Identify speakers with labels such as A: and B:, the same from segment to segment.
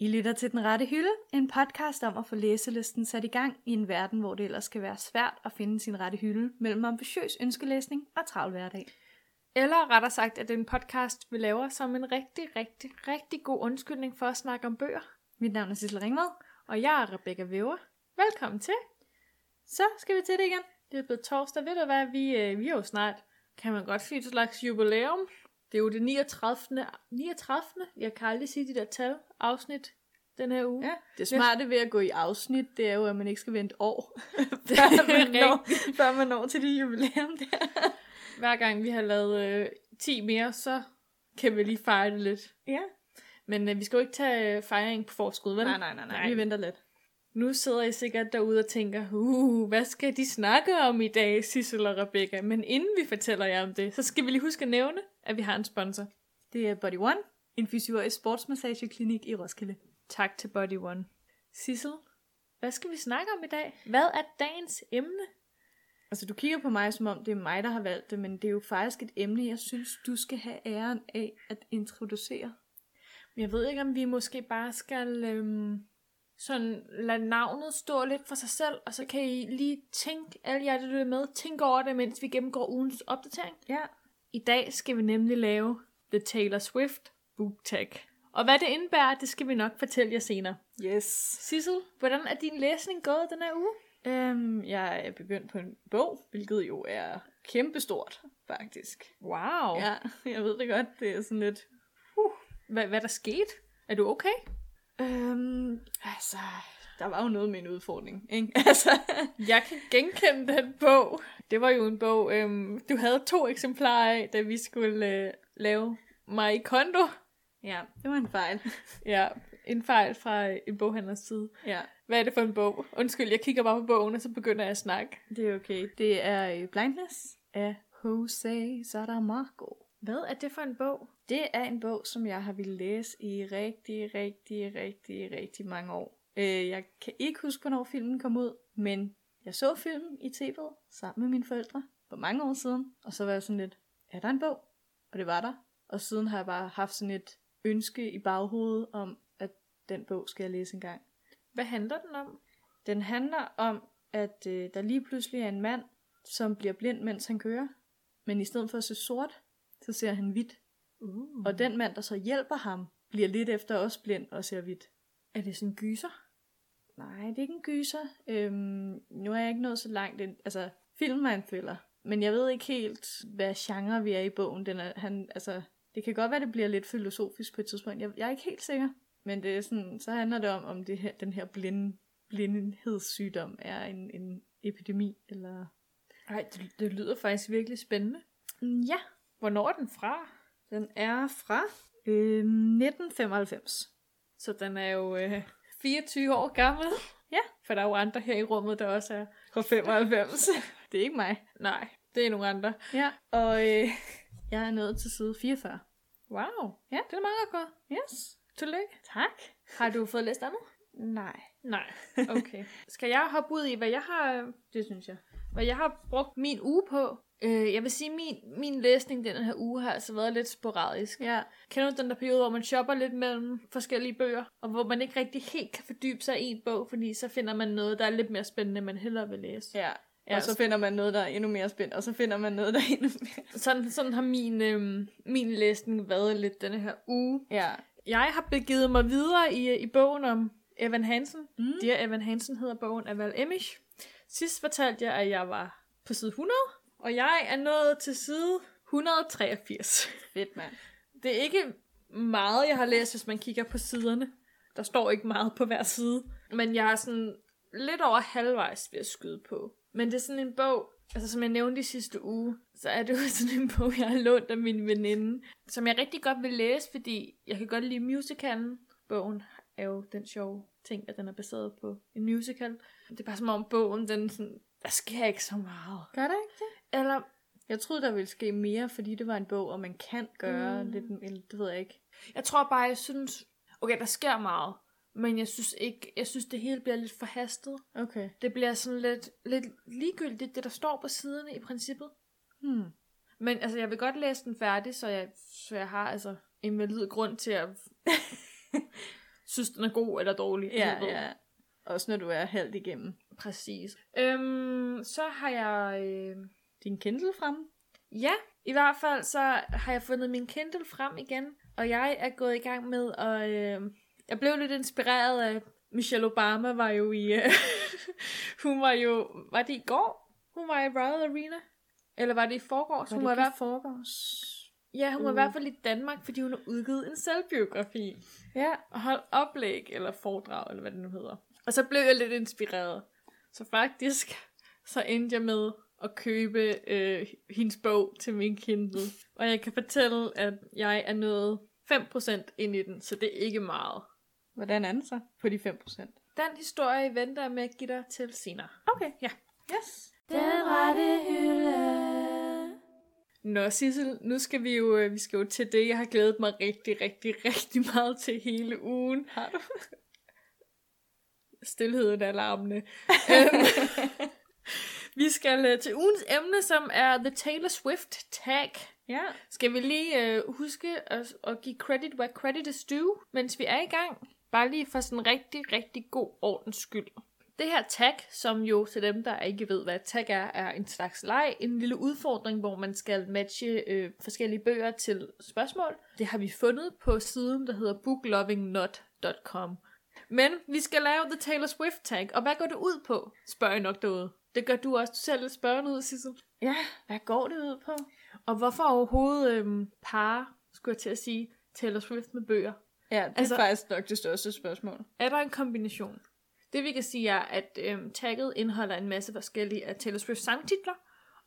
A: lytter til Den Rette Hylde, en podcast om at få læselisten sat i gang i en verden, hvor det ellers kan være svært at finde sin rette hylde mellem ambitiøs ønskelæsning og travl hverdag.
B: Eller rettere sagt, at det er en podcast, vi laver som en rigtig, rigtig, rigtig god undskyldning for at snakke om bøger.
A: Mit navn er Sissel Ringvad.
B: Og jeg er Rebecca Væver. Velkommen til.
A: Så skal vi til det igen.
B: Det er blevet torsdag. Ved du hvad, vi, øh, vi er jo snart, kan man godt sige, et slags jubilæum. Det er jo det 39. 39. Jeg kan aldrig sige de der tal afsnit den her uge.
A: Ja, det smarte ved at gå i afsnit, det er jo, at man ikke skal vente år,
B: er
A: før, man når,
B: rigtigt.
A: før man når til det jubilæum der.
B: Hver gang vi har lavet øh, 10 mere, så kan vi lige fejre det lidt.
A: Ja.
B: Men øh, vi skal jo ikke tage øh, fejring på forskud, vel?
A: Nej, nej, nej, nej. Vi venter lidt.
B: Nu sidder I sikkert derude og tænker, uh, hvad skal de snakke om i dag, Sissel og Rebecca? Men inden vi fortæller jer om det, så skal vi lige huske at nævne, at vi har en sponsor.
A: Det er Body One, en fysiorisk sportsmassageklinik i Roskilde.
B: Tak til Body One. Sissel, hvad skal vi snakke om i dag? Hvad er dagens emne?
A: Altså, du kigger på mig, som om det er mig, der har valgt det, men det er jo faktisk et emne, jeg synes, du skal have æren af at introducere.
B: Jeg ved ikke, om vi måske bare skal øhm, sådan lade navnet stå lidt for sig selv, og så kan I lige tænke, alle jer, der lytter med, tænke over det, mens vi gennemgår ugens opdatering.
A: Ja.
B: I dag skal vi nemlig lave The Taylor Swift Book Tag. Og hvad det indebærer, det skal vi nok fortælle jer senere.
A: Yes.
B: Sissel, hvordan er din læsning gået den her uge?
A: Øhm, jeg er begyndt på en bog, hvilket jo er kæmpestort, faktisk.
B: Wow. Ja.
A: Ja, jeg ved det godt. Det er sådan lidt...
B: Hvad, hvad der skete? Er du okay?
A: Øhm, altså, der var jo noget med en udfordring, ikke? Altså,
B: Jeg kan genkende den bog. Det var jo en bog, øhm, du havde to eksemplarer af, da vi skulle øh, lave mig kondo.
A: ja, det var en fejl.
B: Ja, en fejl fra øh, en boghandlers side.
A: Ja,
B: Hvad er det for en bog? Undskyld, jeg kigger bare på bogen, og så begynder jeg at snakke.
A: det er okay. Det er øh, Blindness af Jose Saramago.
B: Hvad er det for en bog?
A: Det er en bog, som jeg har ville læse i rigtig, rigtig, rigtig, rigtig mange år. Øh, jeg kan ikke huske, hvornår filmen kom ud, men jeg så filmen i tv'et sammen med mine forældre for mange år siden, og så var jeg sådan lidt, er der en bog? Og det var der. Og siden har jeg bare haft sådan et ønske i baghovedet om, at den bog skal jeg læse engang.
B: Hvad handler den om?
A: Den handler om, at øh, der lige pludselig er en mand, som bliver blind, mens han kører. Men i stedet for at se sort, så ser han hvidt.
B: Uh.
A: Og den mand, der så hjælper ham, bliver lidt efter os blind og ser hvidt.
B: Er det sådan en gyser?
A: Nej, det er ikke en gyser. Øhm, nu er jeg ikke nået så langt. ind. Altså, filmen er en thriller. Men jeg ved ikke helt, hvad genre vi er i bogen. Den er, han, altså, det kan godt være, det bliver lidt filosofisk på et tidspunkt. Jeg, jeg er ikke helt sikker. Men det er sådan, så handler det om, om det her, den her blinde, blindhedssygdom er en, en epidemi. Eller...
B: Nej, det, det lyder faktisk virkelig spændende.
A: Mm, Ja,
B: Hvornår er den fra?
A: den er fra øhm, 1995.
B: Så den er jo øh, 24 år gammel.
A: Ja.
B: For der er jo andre her i rummet, der også er.
A: Fra 95. det er ikke mig.
B: Nej, det er nogle andre.
A: Ja, og øh, jeg er nået til side 44.
B: Wow.
A: Ja.
B: Ja. Det er meget godt.
A: Yes.
B: Tillykke.
A: Tak.
B: Har du fået læst andet?
A: Nej.
B: Nej. Okay. Skal jeg hoppe ud i, hvad jeg har,
A: Det synes jeg.
B: hvad jeg har brugt min uge på? Øh, jeg vil sige, min, min læsning den her uge har altså været lidt sporadisk.
A: Ja.
B: Kender du den der periode, hvor man shopper lidt mellem forskellige bøger, og hvor man ikke rigtig helt kan fordybe sig i en bog, fordi så finder man noget, der er lidt mere spændende, man hellere vil læse?
A: ja.
B: Ja,
A: Og så finder man noget, der er endnu mere spændt, og så finder man noget, der er endnu mere...
B: Sådan, sådan har min, øhm, min læsning været lidt denne her uge.
A: Ja.
B: Jeg har begivet mig videre i, i bogen om Evan Hansen.
A: Mm.
B: Mm. Dear Evan Hansen hedder bogen af Val Emish. Sidst fortalte jeg, at jeg var på side 100, og jeg er nået til side 183.
A: Fedt, mand.
B: Det er ikke meget, jeg har læst, hvis man kigger på siderne. Der står ikke meget på hver side. Men jeg er sådan lidt over halvvejs ved at skyde på. Men det er sådan en bog, altså som jeg nævnte i sidste uge, så er det jo sådan en bog, jeg har lånt af min veninde, som jeg rigtig godt vil læse, fordi jeg kan godt lide musicalen. Bogen er jo den sjove ting, at den er baseret på en musical. Det er bare som om bogen, den sådan, der sker ikke så meget.
A: Gør det ikke det?
B: Eller
A: Jeg troede, der ville ske mere, fordi det var en bog, og man kan gøre
B: Mm.
A: mm. lidt... Eller, det ved jeg ikke.
B: Jeg tror bare, jeg synes... Okay, der sker meget, men jeg synes ikke... Jeg synes, det hele bliver lidt forhastet.
A: Okay.
B: Det bliver sådan lidt, lidt ligegyldigt, det der står på siderne i princippet.
A: Hmm.
B: Men altså, jeg vil godt læse den færdig, så jeg, så jeg har altså en valid grund til at synes, den er god eller dårlig.
A: Ja,
B: du ved.
A: ja. Også når du er halvt igennem
B: Præcis. Øhm, så har jeg... Øh,
A: din Kindle frem.
B: ja, i hvert fald så har jeg fundet min Kindle frem igen, og jeg er gået i gang med at... Øh, jeg blev lidt inspireret af... Michelle Obama var jo i... Øh, hun var jo... Var det i går? Hun var i Royal Arena? Eller var det i forgårs? hun var i hvert
A: foregårs?
B: Ja, hun var i
A: Uh.
B: hvert fald i Danmark, fordi hun har udgivet en selvbiografi.
A: Ja.
B: Og holdt oplæg, eller foredrag, eller hvad det nu hedder. Og så blev jeg lidt inspireret. Så faktisk, så endte jeg med at købe øh, hendes bog til min Kindle. Og jeg kan fortælle, at jeg er nået 5% ind i den, så det er ikke meget.
A: Hvordan er den så på de 5%?
B: Den historie venter jeg med at give dig til senere.
A: Okay.
B: Ja.
A: Yes.
B: Den rette hylde. Nå, Sissel, nu skal vi jo, øh, vi skal jo til det, jeg har glædet mig rigtig, rigtig, rigtig meget til hele ugen.
A: Har du?
B: Stilheden er larmende. Øhm, vi skal øh, til ugens emne, som er The Taylor Swift Tag.
A: Ja.
B: Skal vi lige øh, huske at, at give credit, where credit is due, mens vi er i gang? Bare lige for sådan en rigtig, rigtig god ordens skyld. Det her tag, som jo til dem, der ikke ved, hvad et tag er, er en slags leg, en lille udfordring, hvor man skal matche øh, forskellige bøger til spørgsmål. Det har vi fundet på siden, der hedder booklovingnot.com. Men vi skal lave The Taylor Swift tag, og hvad går det ud på, spørger I nok derude. Det gør du også. Du ser lidt spørgende ud, Sissel.
A: Ja, hvad går det ud på?
B: Og hvorfor overhovedet øhm, par, skulle jeg til at sige, Taylor Swift med bøger?
A: Ja, det
B: Altså-
A: er faktisk nok det største spørgsmål.
B: Er der en kombination? Det vi kan sige er, at øhm, tagget indeholder en masse forskellige af Taylor Swift sangtitler,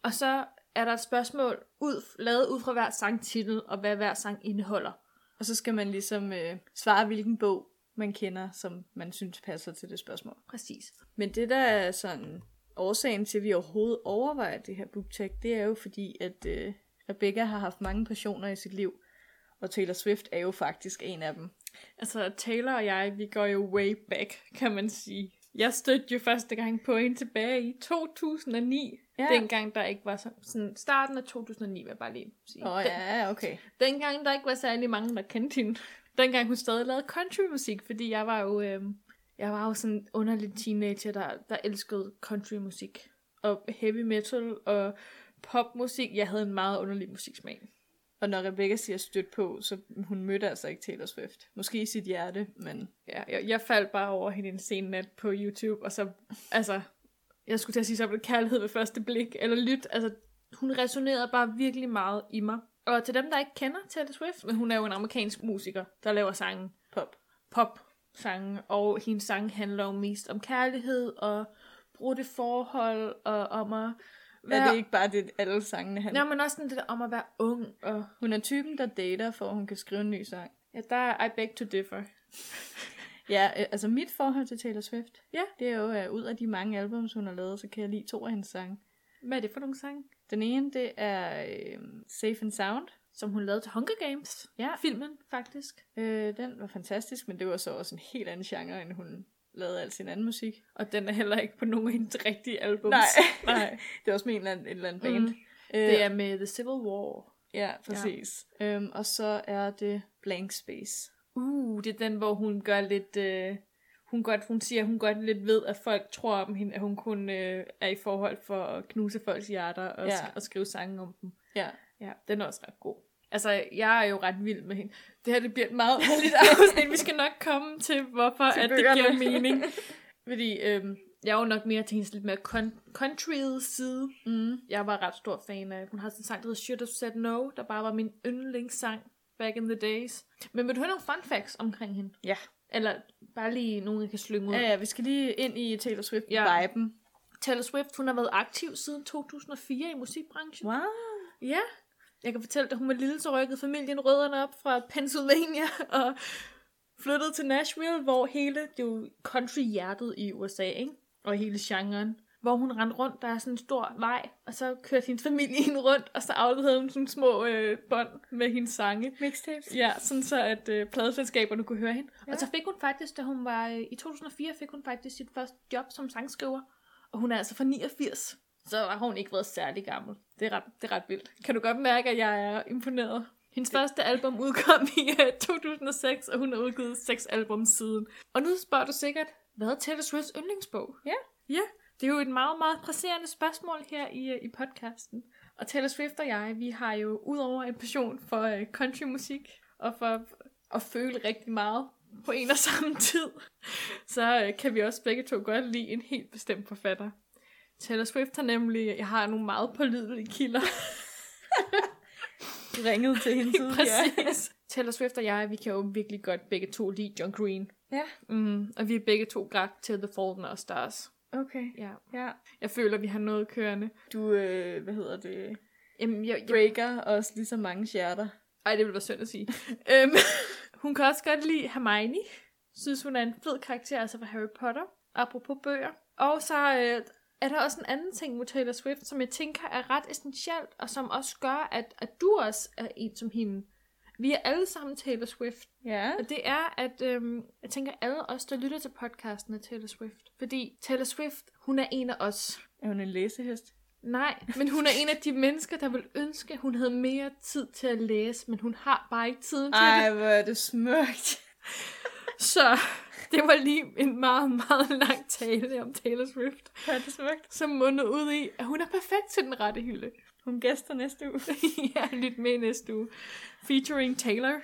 B: og så er der et spørgsmål ud, lavet ud fra hver sangtitel, og hvad hver sang indeholder.
A: Og så skal man ligesom øh, svare, hvilken bog man kender, som man synes passer til det spørgsmål.
B: Præcis.
A: Men det, der er sådan årsagen til, at vi overhovedet overvejer det her booktag, det er jo fordi, at øh, Rebecca har haft mange passioner i sit liv, og Taylor Swift er jo faktisk en af dem.
B: Altså, Taylor og jeg, vi går jo way back, kan man sige. Jeg stødte jo første gang på hende tilbage i 2009. Ja.
A: Ja.
B: Dengang der ikke var så, sådan... Starten af 2009, vil jeg bare lige sige.
A: Åh oh,
B: Den-
A: ja, okay.
B: Dengang der ikke var særlig mange, der kendte hende. Dengang hun stadig lavede countrymusik, fordi jeg var jo, øh, jeg var jo sådan en underlig teenager, der, der elskede countrymusik. Og heavy metal og popmusik. Jeg havde en meget underlig musiksmag.
A: Og når Rebecca siger stødt på, så hun mødte altså ikke Taylor Swift. Måske i sit hjerte, men
B: Ja, jeg, jeg faldt bare over hende en sen nat på YouTube, og så, altså, jeg skulle til at sige, så blev det kærlighed ved første blik, eller lyt, altså, hun resonerede bare virkelig meget i mig. Og til dem, der ikke kender Taylor Swift, men hun er jo en amerikansk musiker, der laver sangen.
A: pop.
B: popsange, og hendes sange handler jo mest om kærlighed og brudte forhold og om at
A: Er
B: være...
A: det ikke bare det, alle sangene handler
B: Nej, men også sådan det der om at være ung og...
A: Hun er typen, der dater, for at hun kan skrive en ny sang.
B: Ja, der er I beg to differ.
A: Ja, øh, altså mit forhold til Taylor Swift,
B: Ja.
A: det er jo, at ud af de mange albums, hun har lavet, så kan jeg lide to af hendes sange.
B: Hvad er det for nogle sange?
A: Den ene, det er øh, Safe and Sound.
B: Som hun lavede til Hunger Games.
A: Ja.
B: Filmen, faktisk.
A: Øh, den var fantastisk, men det var så også en helt anden genre, end hun lavede al sin anden musik.
B: Og den er heller ikke på nogen af hendes rigtige albums.
A: Nej.
B: Nej.
A: Det er også med en eller anden, en eller anden band.
B: Mm.
A: Mm. Øh,
B: Det er med The Civil War.
A: Ja, præcis. Ja. Øhm, og så er det Blank Space.
B: Uh, det er den, hvor hun gør lidt... Øh, hun, godt, hun siger, at hun godt lidt ved, at folk tror om hende, at hun kun øh, er i forhold for at knuse folks hjerter og, ja.
A: Ja.
B: sk- og skrive sange om dem.
A: Ja.
B: Ja, den er også ret god. Altså, jeg er jo ret vild med hende. Det her, det bliver et meget underligt afsnit. Vi skal nok komme til, hvorfor
A: Til
B: til at det
A: bøgerne.
B: giver mening. Fordi øhm, jeg er jo nok mere til hendes lidt mere con- country side.
A: Mm.
B: Jeg var ret stor fan af, hun har sådan en sang, der hedder Should Have Said No, der bare var min yndlingssang back in the days. Men vil du høre nogle fun facts omkring hende?
A: Ja.
B: Eller bare lige nogle, jeg kan slynge ud.
A: Ja, ja, vi skal lige ind i Taylor
B: Ja.
A: Swift-viben.
B: Taylor Swift, hun har været aktiv siden 2004 i musikbranchen.
A: Wow.
B: Ja. Jeg kan fortælle dig, hun var lille, så rykkede familien rødderne op fra Pennsylvania og flyttede til Nashville, hvor hele, det er jo country-hjertet i USA, ikke? Og hele genren. Hvor hun rendte rundt, der er sådan en stor vej, og så kørte hendes familie hende rundt, og så afleverede hun sådan små øh, bånd med hendes sange.
A: Mixtapes.
B: Ja, sådan så at øh, pladeselskaberne kunne høre hende. Ja.
A: Ja.
B: Og så fik hun faktisk, da hun var øh, i 2004, fik hun faktisk sit første job som sangskriver. Og hun er altså fra 89. Så har hun ikke været særlig gammel. Det er ret, det er ret vildt. Kan du godt mærke, at jeg er imponeret? Hendes første album udkom i øh, 2006, og hun har udgivet seks album siden. Og nu spørger du sikkert, hvad er Taylor Swift's yndlingsbog?
A: Ja.
B: Ja, det er jo et meget, meget presserende spørgsmål her i, øh, i podcasten. Og Taylor Swift og jeg, vi har jo udover en passion for øh, countrymusik, og for at føle rigtig meget på en og samme tid, så øh, kan vi også begge to godt lide en helt bestemt forfatter. Taylor Swift har nemlig, jeg har nogle meget pålidelige kilder,
A: Ringet til hende siden.
B: præcis. Taylor Swift og jeg, vi kan jo virkelig godt begge to lide John Green.
A: Ja,
B: Mm, og vi er begge to grædt til The Fault in Our Stars.
A: okay.
B: Ja.
A: Ja.
B: Jeg føler, vi har noget kørende.
A: Du, øh, hvad hedder det,
B: Jamen, jeg, jeg,
A: breaker også lige så mange hjerter.
B: ej, det ville være synd at sige. øhm, hun kan også godt lide Hermione. Synes, hun er en fed karakter, altså fra Harry Potter. Apropos bøger. Og så øh, er der også en anden ting med Taylor Swift, som jeg tænker er ret essentielt, og som også gør, at, at du også er en som hende. Vi er alle sammen Taylor Swift.
A: Ja.
B: Og det er, at øhm, jeg tænker, alle os, der lytter til podcasten, er Taylor Swift. Fordi Taylor Swift, hun er en af os.
A: Er hun en læsehest?
B: Nej, men hun er en af de mennesker, der vil ønske, hun havde mere tid til at læse, men hun har bare ikke tiden til Ej.
A: Ej, hvor er det smukt.
B: det. Så det var lige en meget, meget lang tale om Taylor Swift,
A: Hvor er det smukt.
B: som mundede ud i, at hun er perfekt til den rette hylde.
A: Hun gæster næste uge.
B: ja, lyt med næste uge. Featuring Taylor.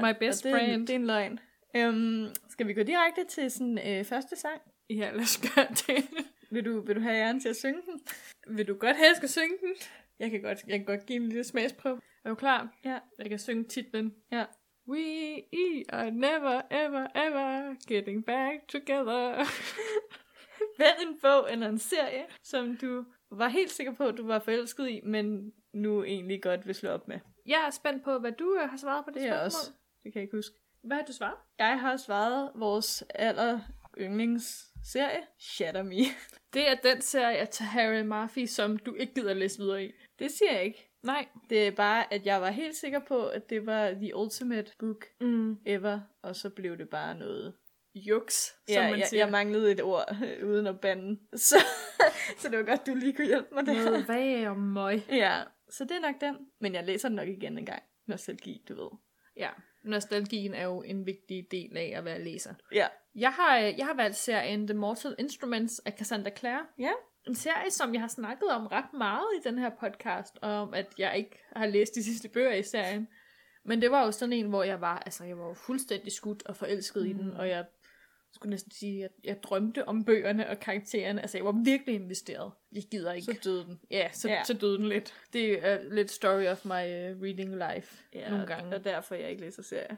B: My best
A: og det er en-
B: friend.
A: Det er en løgn. Øhm, skal vi gå direkte til sådan øh, første sang?
B: Ja, lad os gøre det.
A: Vil du, vil du have æren til at synge den?
B: Vil du godt have, at jeg skal synge den?
A: Jeg kan godt.
B: Jeg kan godt give en lille smagsprøve. Er du klar?
A: Ja.
B: Jeg kan synge titlen.
A: Ja.
B: We are never, ever, ever getting back together.
A: Vælg en bog eller en serie, som du var helt sikker på, at du var forelsket i, men nu egentlig godt vil slå op med.
B: Jeg er spændt på, hvad du øh, har svaret på det,
A: Det er
B: spørgsmål.
A: jeg også. Det kan jeg ikke huske.
B: Hvad har du svaret?
A: Jeg har svaret vores aller yndlingsserie, Shatter Me.
B: Det er den serie af Harry Murphy, som du ikke gider læse videre i.
A: Det siger jeg ikke.
B: Nej.
A: Det er bare, at jeg var helt sikker på, at det var the ultimate book
B: Mm.
A: ever, og så blev det bare noget.
B: Juks, som
A: Ja,
B: man
A: jeg,
B: siger.
A: jeg manglede et ord øh, uden at bande, så, så det var godt, du lige kunne hjælpe mig der.
B: Noget vag og møg.
A: Ja, så det er nok den. Men jeg læser den nok igen en gang. Nostalgi, du ved.
B: Ja, nostalgien er jo en vigtig del af at være læser.
A: Ja.
B: Jeg har, øh, jeg har valgt serien The Mortal Instruments af Cassandra Clare.
A: Ja.
B: En serie, som jeg har snakket om ret meget i den her podcast, og om at jeg ikke har læst de sidste bøger i serien. Men det var jo sådan en, hvor jeg var, altså jeg var jo fuldstændig skudt og forelsket mm. i den,
A: Mm.
B: og jeg skulle næsten sige, at jeg drømte om bøgerne og karaktererne. Altså jeg var virkelig investeret. Jeg gider ikke.
A: Så døde den.
B: ja, så,
A: Ja.
B: så døde den lidt. Det er lidt story of my øh, reading life
A: Ja,
B: nogle gange.
A: Og derfor jeg ikke læser serier.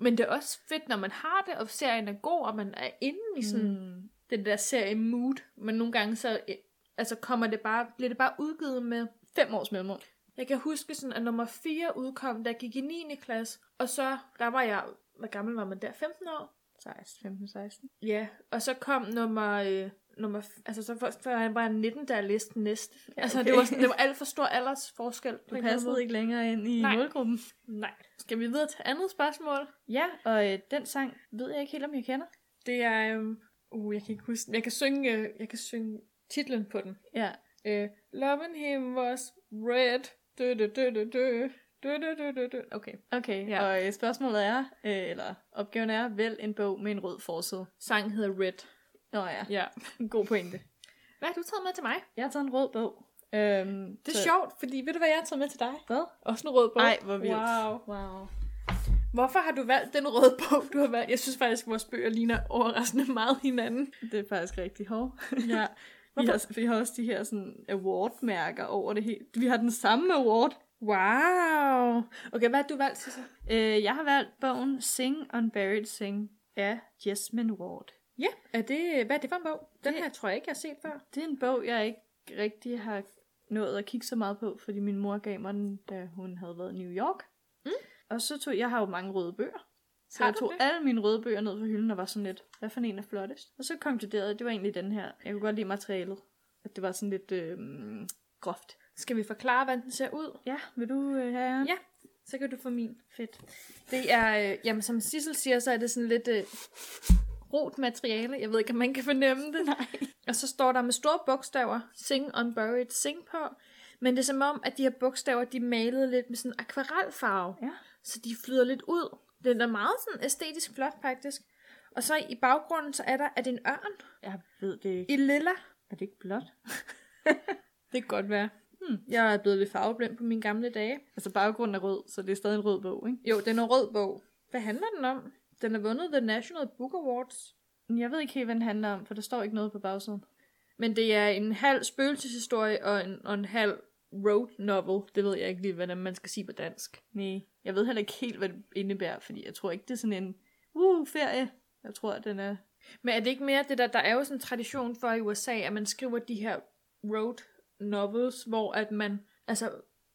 B: Men det er også fedt, når man har det, og serien er god, og man er inde i sådan mm. den der serie mood. Men nogle gange så øh, altså kommer det bare, bliver det bare udgivet med...
A: Fem års mellemrum.
B: Jeg kan huske sådan, at nummer 4 udkom, da jeg gik i 9. klasse. Og så, der var jeg... Hvor gammel var man der? 15 år?
A: 16, 15, 16.
B: Ja. Og så kom nummer... Øh, nummer f- altså, så for, for jeg var jeg 19, da jeg læste den næste. Ja,
A: Ja,
B: okay. Altså,
A: okay.
B: det var, sådan, det var alt for stor aldersforskel.
A: Du passede ikke længere ind i
B: Nej.
A: Nej. målgruppen.
B: Nej. Skal vi videre til andet spørgsmål?
A: Ja, og øh, den sang ved jeg ikke helt, om jeg kender.
B: Det er... øhm, Uh, jeg kan ikke huske den. Jeg kan synge, øh, jeg kan synge titlen på den.
A: Ja.
B: Uh, Loving him was red. Dø, dø, dø, dø, dø. Dø, dø, dø, dø, dø. Okay.
A: Okay,
B: Ja.
A: ja. og øh, spørgsmålet er, øh, eller opgaven er, vælg en bog med en rød forside.
B: Sangen hedder Red.
A: Nå ja,
B: Ja.
A: en god pointe.
B: Hvad har du taget med til mig?
A: Jeg har taget en rød bog. Øhm,
B: Det er sjovt, fordi ved du, hvad jeg har taget med til dig?
A: Hvad?
B: Også en rød bog.
A: Ej, hvor vildt.
B: Wow.
A: Wow.
B: Hvorfor har du valgt den røde bog, du har valgt? Jeg synes faktisk, vores bøger ligner overraskende meget hinanden.
A: Det er faktisk rigtig hårdt.
B: Ja.
A: Vi har, vi har også de her sådan award-mærker over det hele. Vi har den samme award.
B: Wow. Okay, hvad har du valgt til så?
A: Øh, jeg har valgt bogen Sing Unburied Sing af Jasmine Ward.
B: Ja, er det, hvad er det for en bog? Den
A: Det-
B: her tror jeg ikke, jeg har set før.
A: Det er en bog, jeg ikke rigtig har nået at kigge så meget på, fordi min mor gav mig den, da hun havde været i New York.
B: Mm.
A: Og så tog jeg har jo mange røde bøger. Så
B: Har
A: jeg
B: du
A: tog
B: det?
A: alle mine røde bøger ned fra hylden og var sådan lidt, hvad for en er flottest? Og så konkluderede jeg, at det var egentlig den her. Jeg kunne godt lide materialet. At det var sådan lidt øh, groft.
B: Skal vi forklare, hvordan den ser ud?
A: Ja, vil du øh, have æren?
B: Ja. Så kan du få min.
A: Fedt.
B: Det er, øh, jamen som Sissel siger, så er det sådan lidt øh, rot materiale. Jeg ved ikke, om man kan fornemme det. Nej. Og så står der med store bogstaver, Sing Unburied Sing på. Men det er som om, at de her bogstaver, de er malet lidt med sådan akvarelfarve.
A: Ja.
B: Så de flyder lidt ud. Den er meget sådan æstetisk flot, faktisk. Og så i baggrunden, så er der, at en ørn
A: Jeg ved det ikke.
B: i lilla.
A: Er det ikke blot?
B: Det kan godt være. Hmm. Jeg er blevet lidt farveblind på mine gamle dage.
A: Altså baggrunden er rød, så det er stadig en rød bog, ikke?
B: Jo, den er rød bog. Hvad handler den om? Den har vundet The National Book Awards.
A: Men Jeg ved ikke helt, hvad den handler om, for der står ikke noget på bagsiden.
B: Men det er en halv spøgelseshistorie og en, og en halv road novel. Det ved jeg ikke lige, hvordan man skal sige på dansk.
A: Nej, jeg ved heller ikke helt, hvad det indebærer, fordi jeg tror ikke, det er sådan en uh, ferie. Jeg tror, at den er...
B: Men er det ikke mere det der, der er jo sådan en tradition for i USA, at man skriver de her road novels, hvor at man altså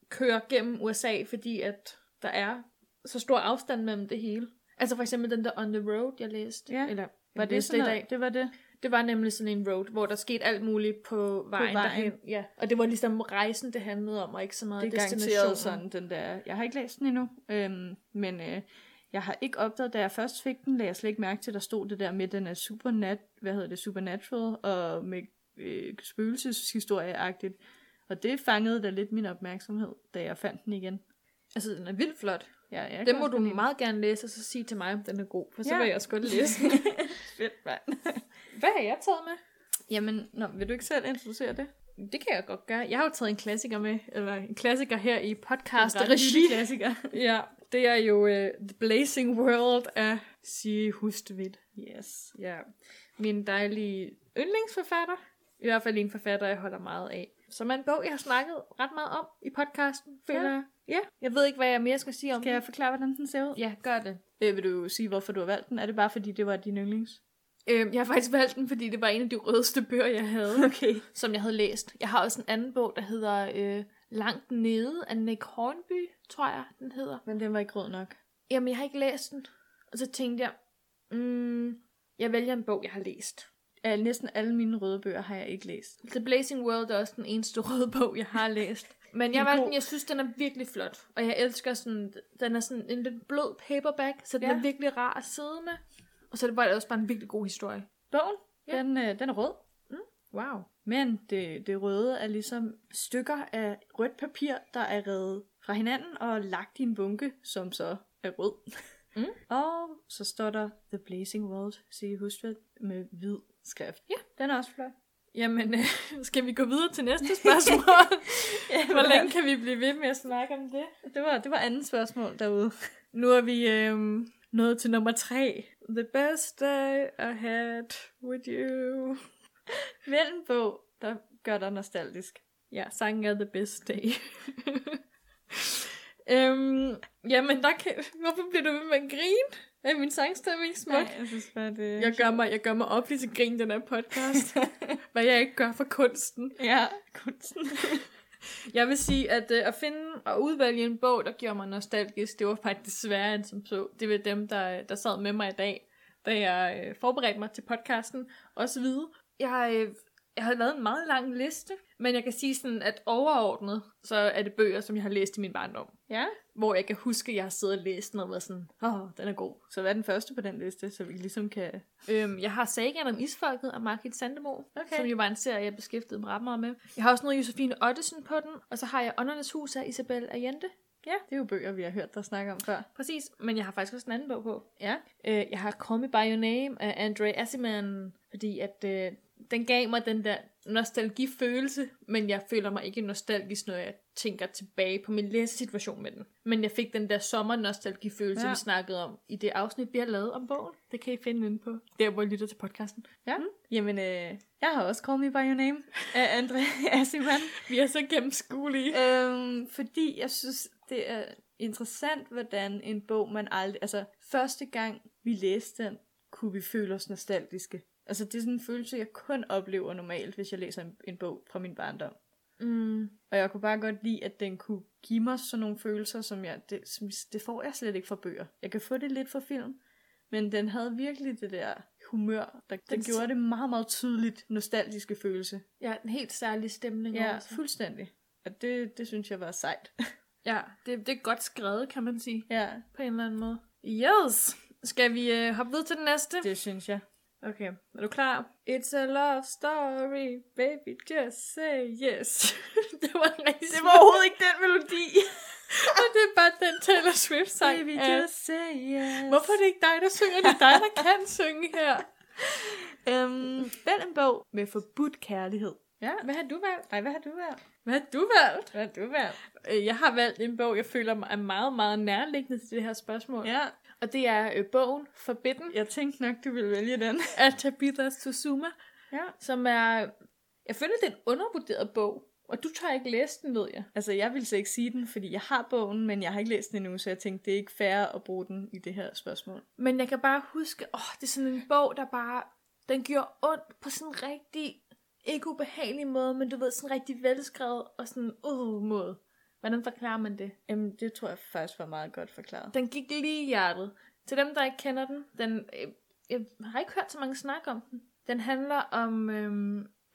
B: kører gennem USA, fordi at der er så stor afstand mellem det hele. Altså for eksempel den der On the Road, jeg læste.
A: Ja.
B: Eller,
A: Var det sådan
B: i
A: noget? Det var det.
B: Det var nemlig sådan en road, hvor der skete alt muligt på vejen, på
A: vejen.
B: vejen. derhen. Ja. Og det var ligesom rejsen, det handlede om, og ikke så meget
A: Det er
B: destinationen.
A: garanteret sådan, den der... Jeg har ikke læst den endnu, øhm, men øh, jeg har ikke opdaget, da jeg først fik den, lagde jeg slet ikke mærke til, at der stod det der med, at den er supernat, hvad hedder det, supernatural, og med øh, spøgelseshistorie-agtigt. Og det fangede da lidt min opmærksomhed, da jeg fandt den igen.
B: Altså, den er vildt flot.
A: Ja, jeg
B: Den må du meget gerne læse, og så sige til mig, om den er god, for så
A: Ja.
B: vil jeg også godt læse den.
A: Fedt, mand.
B: Hvad har jeg taget med?
A: Jamen, nå, vil du ikke selv introducere det?
B: Det kan jeg godt gøre. Jeg har jo taget en klassiker med, eller en klassiker her i podcast
A: Ret
B: regi.
A: lille klassiker.
B: Ja, det er jo uh, The Blazing World af Sige Hustvedt.
A: Yes.
B: Ja, min dejlige yndlingsforfatter. I hvert fald en forfatter, jeg holder meget af. Som er en bog, jeg har snakket ret meget om i podcasten, føler
A: Ja.
B: jeg. Ja, jeg ved ikke, hvad jeg mere skal sige om
A: Skal
B: den.
A: jeg forklare, hvordan den ser ud?
B: Ja, gør det.
A: Øh, vil du sige, hvorfor du har valgt den? Er det bare, fordi det var din yndlings?
B: Øhm, jeg har faktisk valgt den, fordi det var en af de rødeste bøger, jeg havde,
A: Okay.
B: som jeg havde læst. Jeg har også en anden bog, der hedder øh, Langt Nede af Nick Hornby, tror jeg, den hedder.
A: Men den var ikke rød nok.
B: Jamen, jeg har ikke læst den. Og så tænkte jeg, mm, jeg vælger en bog, jeg har læst.
A: Al, næsten alle mine røde bøger har jeg ikke læst.
B: The Blazing World er også den eneste røde bog, jeg har læst. Men
A: Det er
B: jeg
A: en
B: valgte
A: god-
B: den, jeg synes, den er virkelig flot. Og jeg elsker sådan, den er sådan en lidt blød paperback, så den
A: Ja.
B: er virkelig rar at sidde med. Og så er det bare, også bare en virkelig god historie.
A: Bogen,
B: Ja.
A: den, øh, den er rød.
B: Wow.
A: Men det, det røde er ligesom stykker af rødt papir, der er revet fra hinanden og lagt i en bunke, som så er rød.
B: Mm.
A: og så står der The Blazing World, sige Hustvedt, med hvid skrift.
B: Ja.
A: den er også flot.
B: Jamen, øh, skal vi gå videre til næste spørgsmål? Hvor længe kan vi blive ved med at snakke om det?
A: Det var, det var andet spørgsmål derude.
B: Nu er vi øh, nået til nummer tre. The best day I had with you.
A: Vælg en bog, der gør dig nostalgisk.
B: Ja, sangen er The Best Day. øhm, jamen, der kan... hvorfor bliver du ved med at grine? Er min sangstemme ikke smuk?
A: jeg synes bare, det...
B: Jeg gør, mig, jeg gør mig op lige til grin i den her podcast. hvad jeg ikke gør for kunsten.
A: Ja, kunsten.
B: Jeg vil sige, at øh, at finde og udvælge en bog, der gjorde mig nostalgisk, det var faktisk sværere end som så. Det var dem, der, øh, der sad med mig i dag, da jeg øh, forberedte mig til podcasten, også vide. Jeg, øh, jeg har lavet en meget lang liste, men jeg kan sige sådan, at overordnet, så er det bøger, som jeg har læst i min barndom.
A: ja.
B: Hvor jeg kan huske, at jeg har siddet og læst den og været sådan, åh, oh, den er god.
A: Så hvad er den første på den liste, så vi ligesom kan...
B: Øhm, jeg har Sagan om Isfolket af Margit Sandemo,
A: Okay.
B: okay. som jo var en serie, jeg beskæftigede mig ret meget med. Jeg har også noget Josefine Ottesen på den, og så har jeg Åndernes Hus af Isabel Allende.
A: Ja. Det er jo bøger, vi har hørt dig snakke om før.
B: Præcis, men jeg har faktisk også en anden bog på.
A: Ja.
B: Øh, jeg har Call Me By Your Name af Andre Asiman, fordi at øh, den gav mig den der nostalgifølelse, men jeg føler mig ikke nostalgisk, når jeg tænker tilbage på min læsesituation med den. Men jeg fik den der sommernostalgifølelse,
A: Ja.
B: ja. vi snakkede om i det afsnit, vi har lavet om bogen. Det kan I finde inde på, der hvor I lytter til podcasten.
A: Ja. Mm. Jamen, øh, jeg har også Call Me By Your Name af André Asiman.
B: Vi er så gennemskuelige.
A: øhm, fordi jeg synes, det er interessant, hvordan en bog, man aldrig... Altså, første gang vi læste den, kunne vi føle os nostalgiske. Altså, det er sådan en følelse, jeg kun oplever normalt, hvis jeg læser en, en bog fra min barndom.
B: Mm.
A: Og jeg kunne bare godt lide, at den kunne give mig sådan nogle følelser, som jeg, det, som, det får jeg slet ikke fra bøger. Jeg kan få det lidt fra film, men den havde virkelig det der humør, der, der
B: Den-
A: gjorde det meget, meget tydeligt nostalgiske følelse.
B: Ja, en helt særlig stemning.
A: Ja,
B: Ja,
A: fuldstændig. Og det, det synes jeg var sejt.
B: ja det, det er godt skrevet, kan man sige,
A: ja,
B: på en eller anden måde. Yes! Skal vi øh, hoppe videre til den næste?
A: det synes jeg.
B: Okay, er du klar? It's a love story, baby, just say yes. det var en rigtig
A: Det var overhovedet ikke den melodi.
B: Og det er bare den Taylor Swift sang.
A: Baby,
B: af-
A: just say yes.
B: Hvorfor er det ikke dig, der synger? Det er dig, der kan synge her.
A: Øhm, vælg en bog med forbudt kærlighed.
B: Ja, hvad har du valgt?
A: Nej, hvad har du valgt?
B: Hvad har du valgt?
A: Hvad har du valgt?
B: Øh, Jeg har valgt en bog, jeg føler er meget, meget nærliggende til det her spørgsmål.
A: Ja,
B: Og det er øh, bogen Forbidden
A: jeg tænkte nok, du ville vælge den.
B: af Tabitha Susuma,
A: Ja.
B: som er... Jeg føler, det er en undervurderet bog, og du tør ikke læse den, ved jeg.
A: Altså, jeg ville så ikke sige den, fordi jeg har bogen, men jeg har ikke læst den endnu, så jeg tænkte, det er ikke fair at bruge den i det her spørgsmål.
B: Men jeg kan bare huske, åh, det er sådan en bog, der bare... Den gjorde ondt på sådan en rigtig, ikke ubehagelig måde, men du ved, sådan en rigtig velskrevet og sådan en uh, måde. Hvordan forklarer man det?
A: Jamen, det tror jeg faktisk var meget godt forklaret.
B: Den gik lige i hjertet. Til dem, der ikke kender den, den øh, jeg har ikke hørt så mange snak om den. Den handler om øh,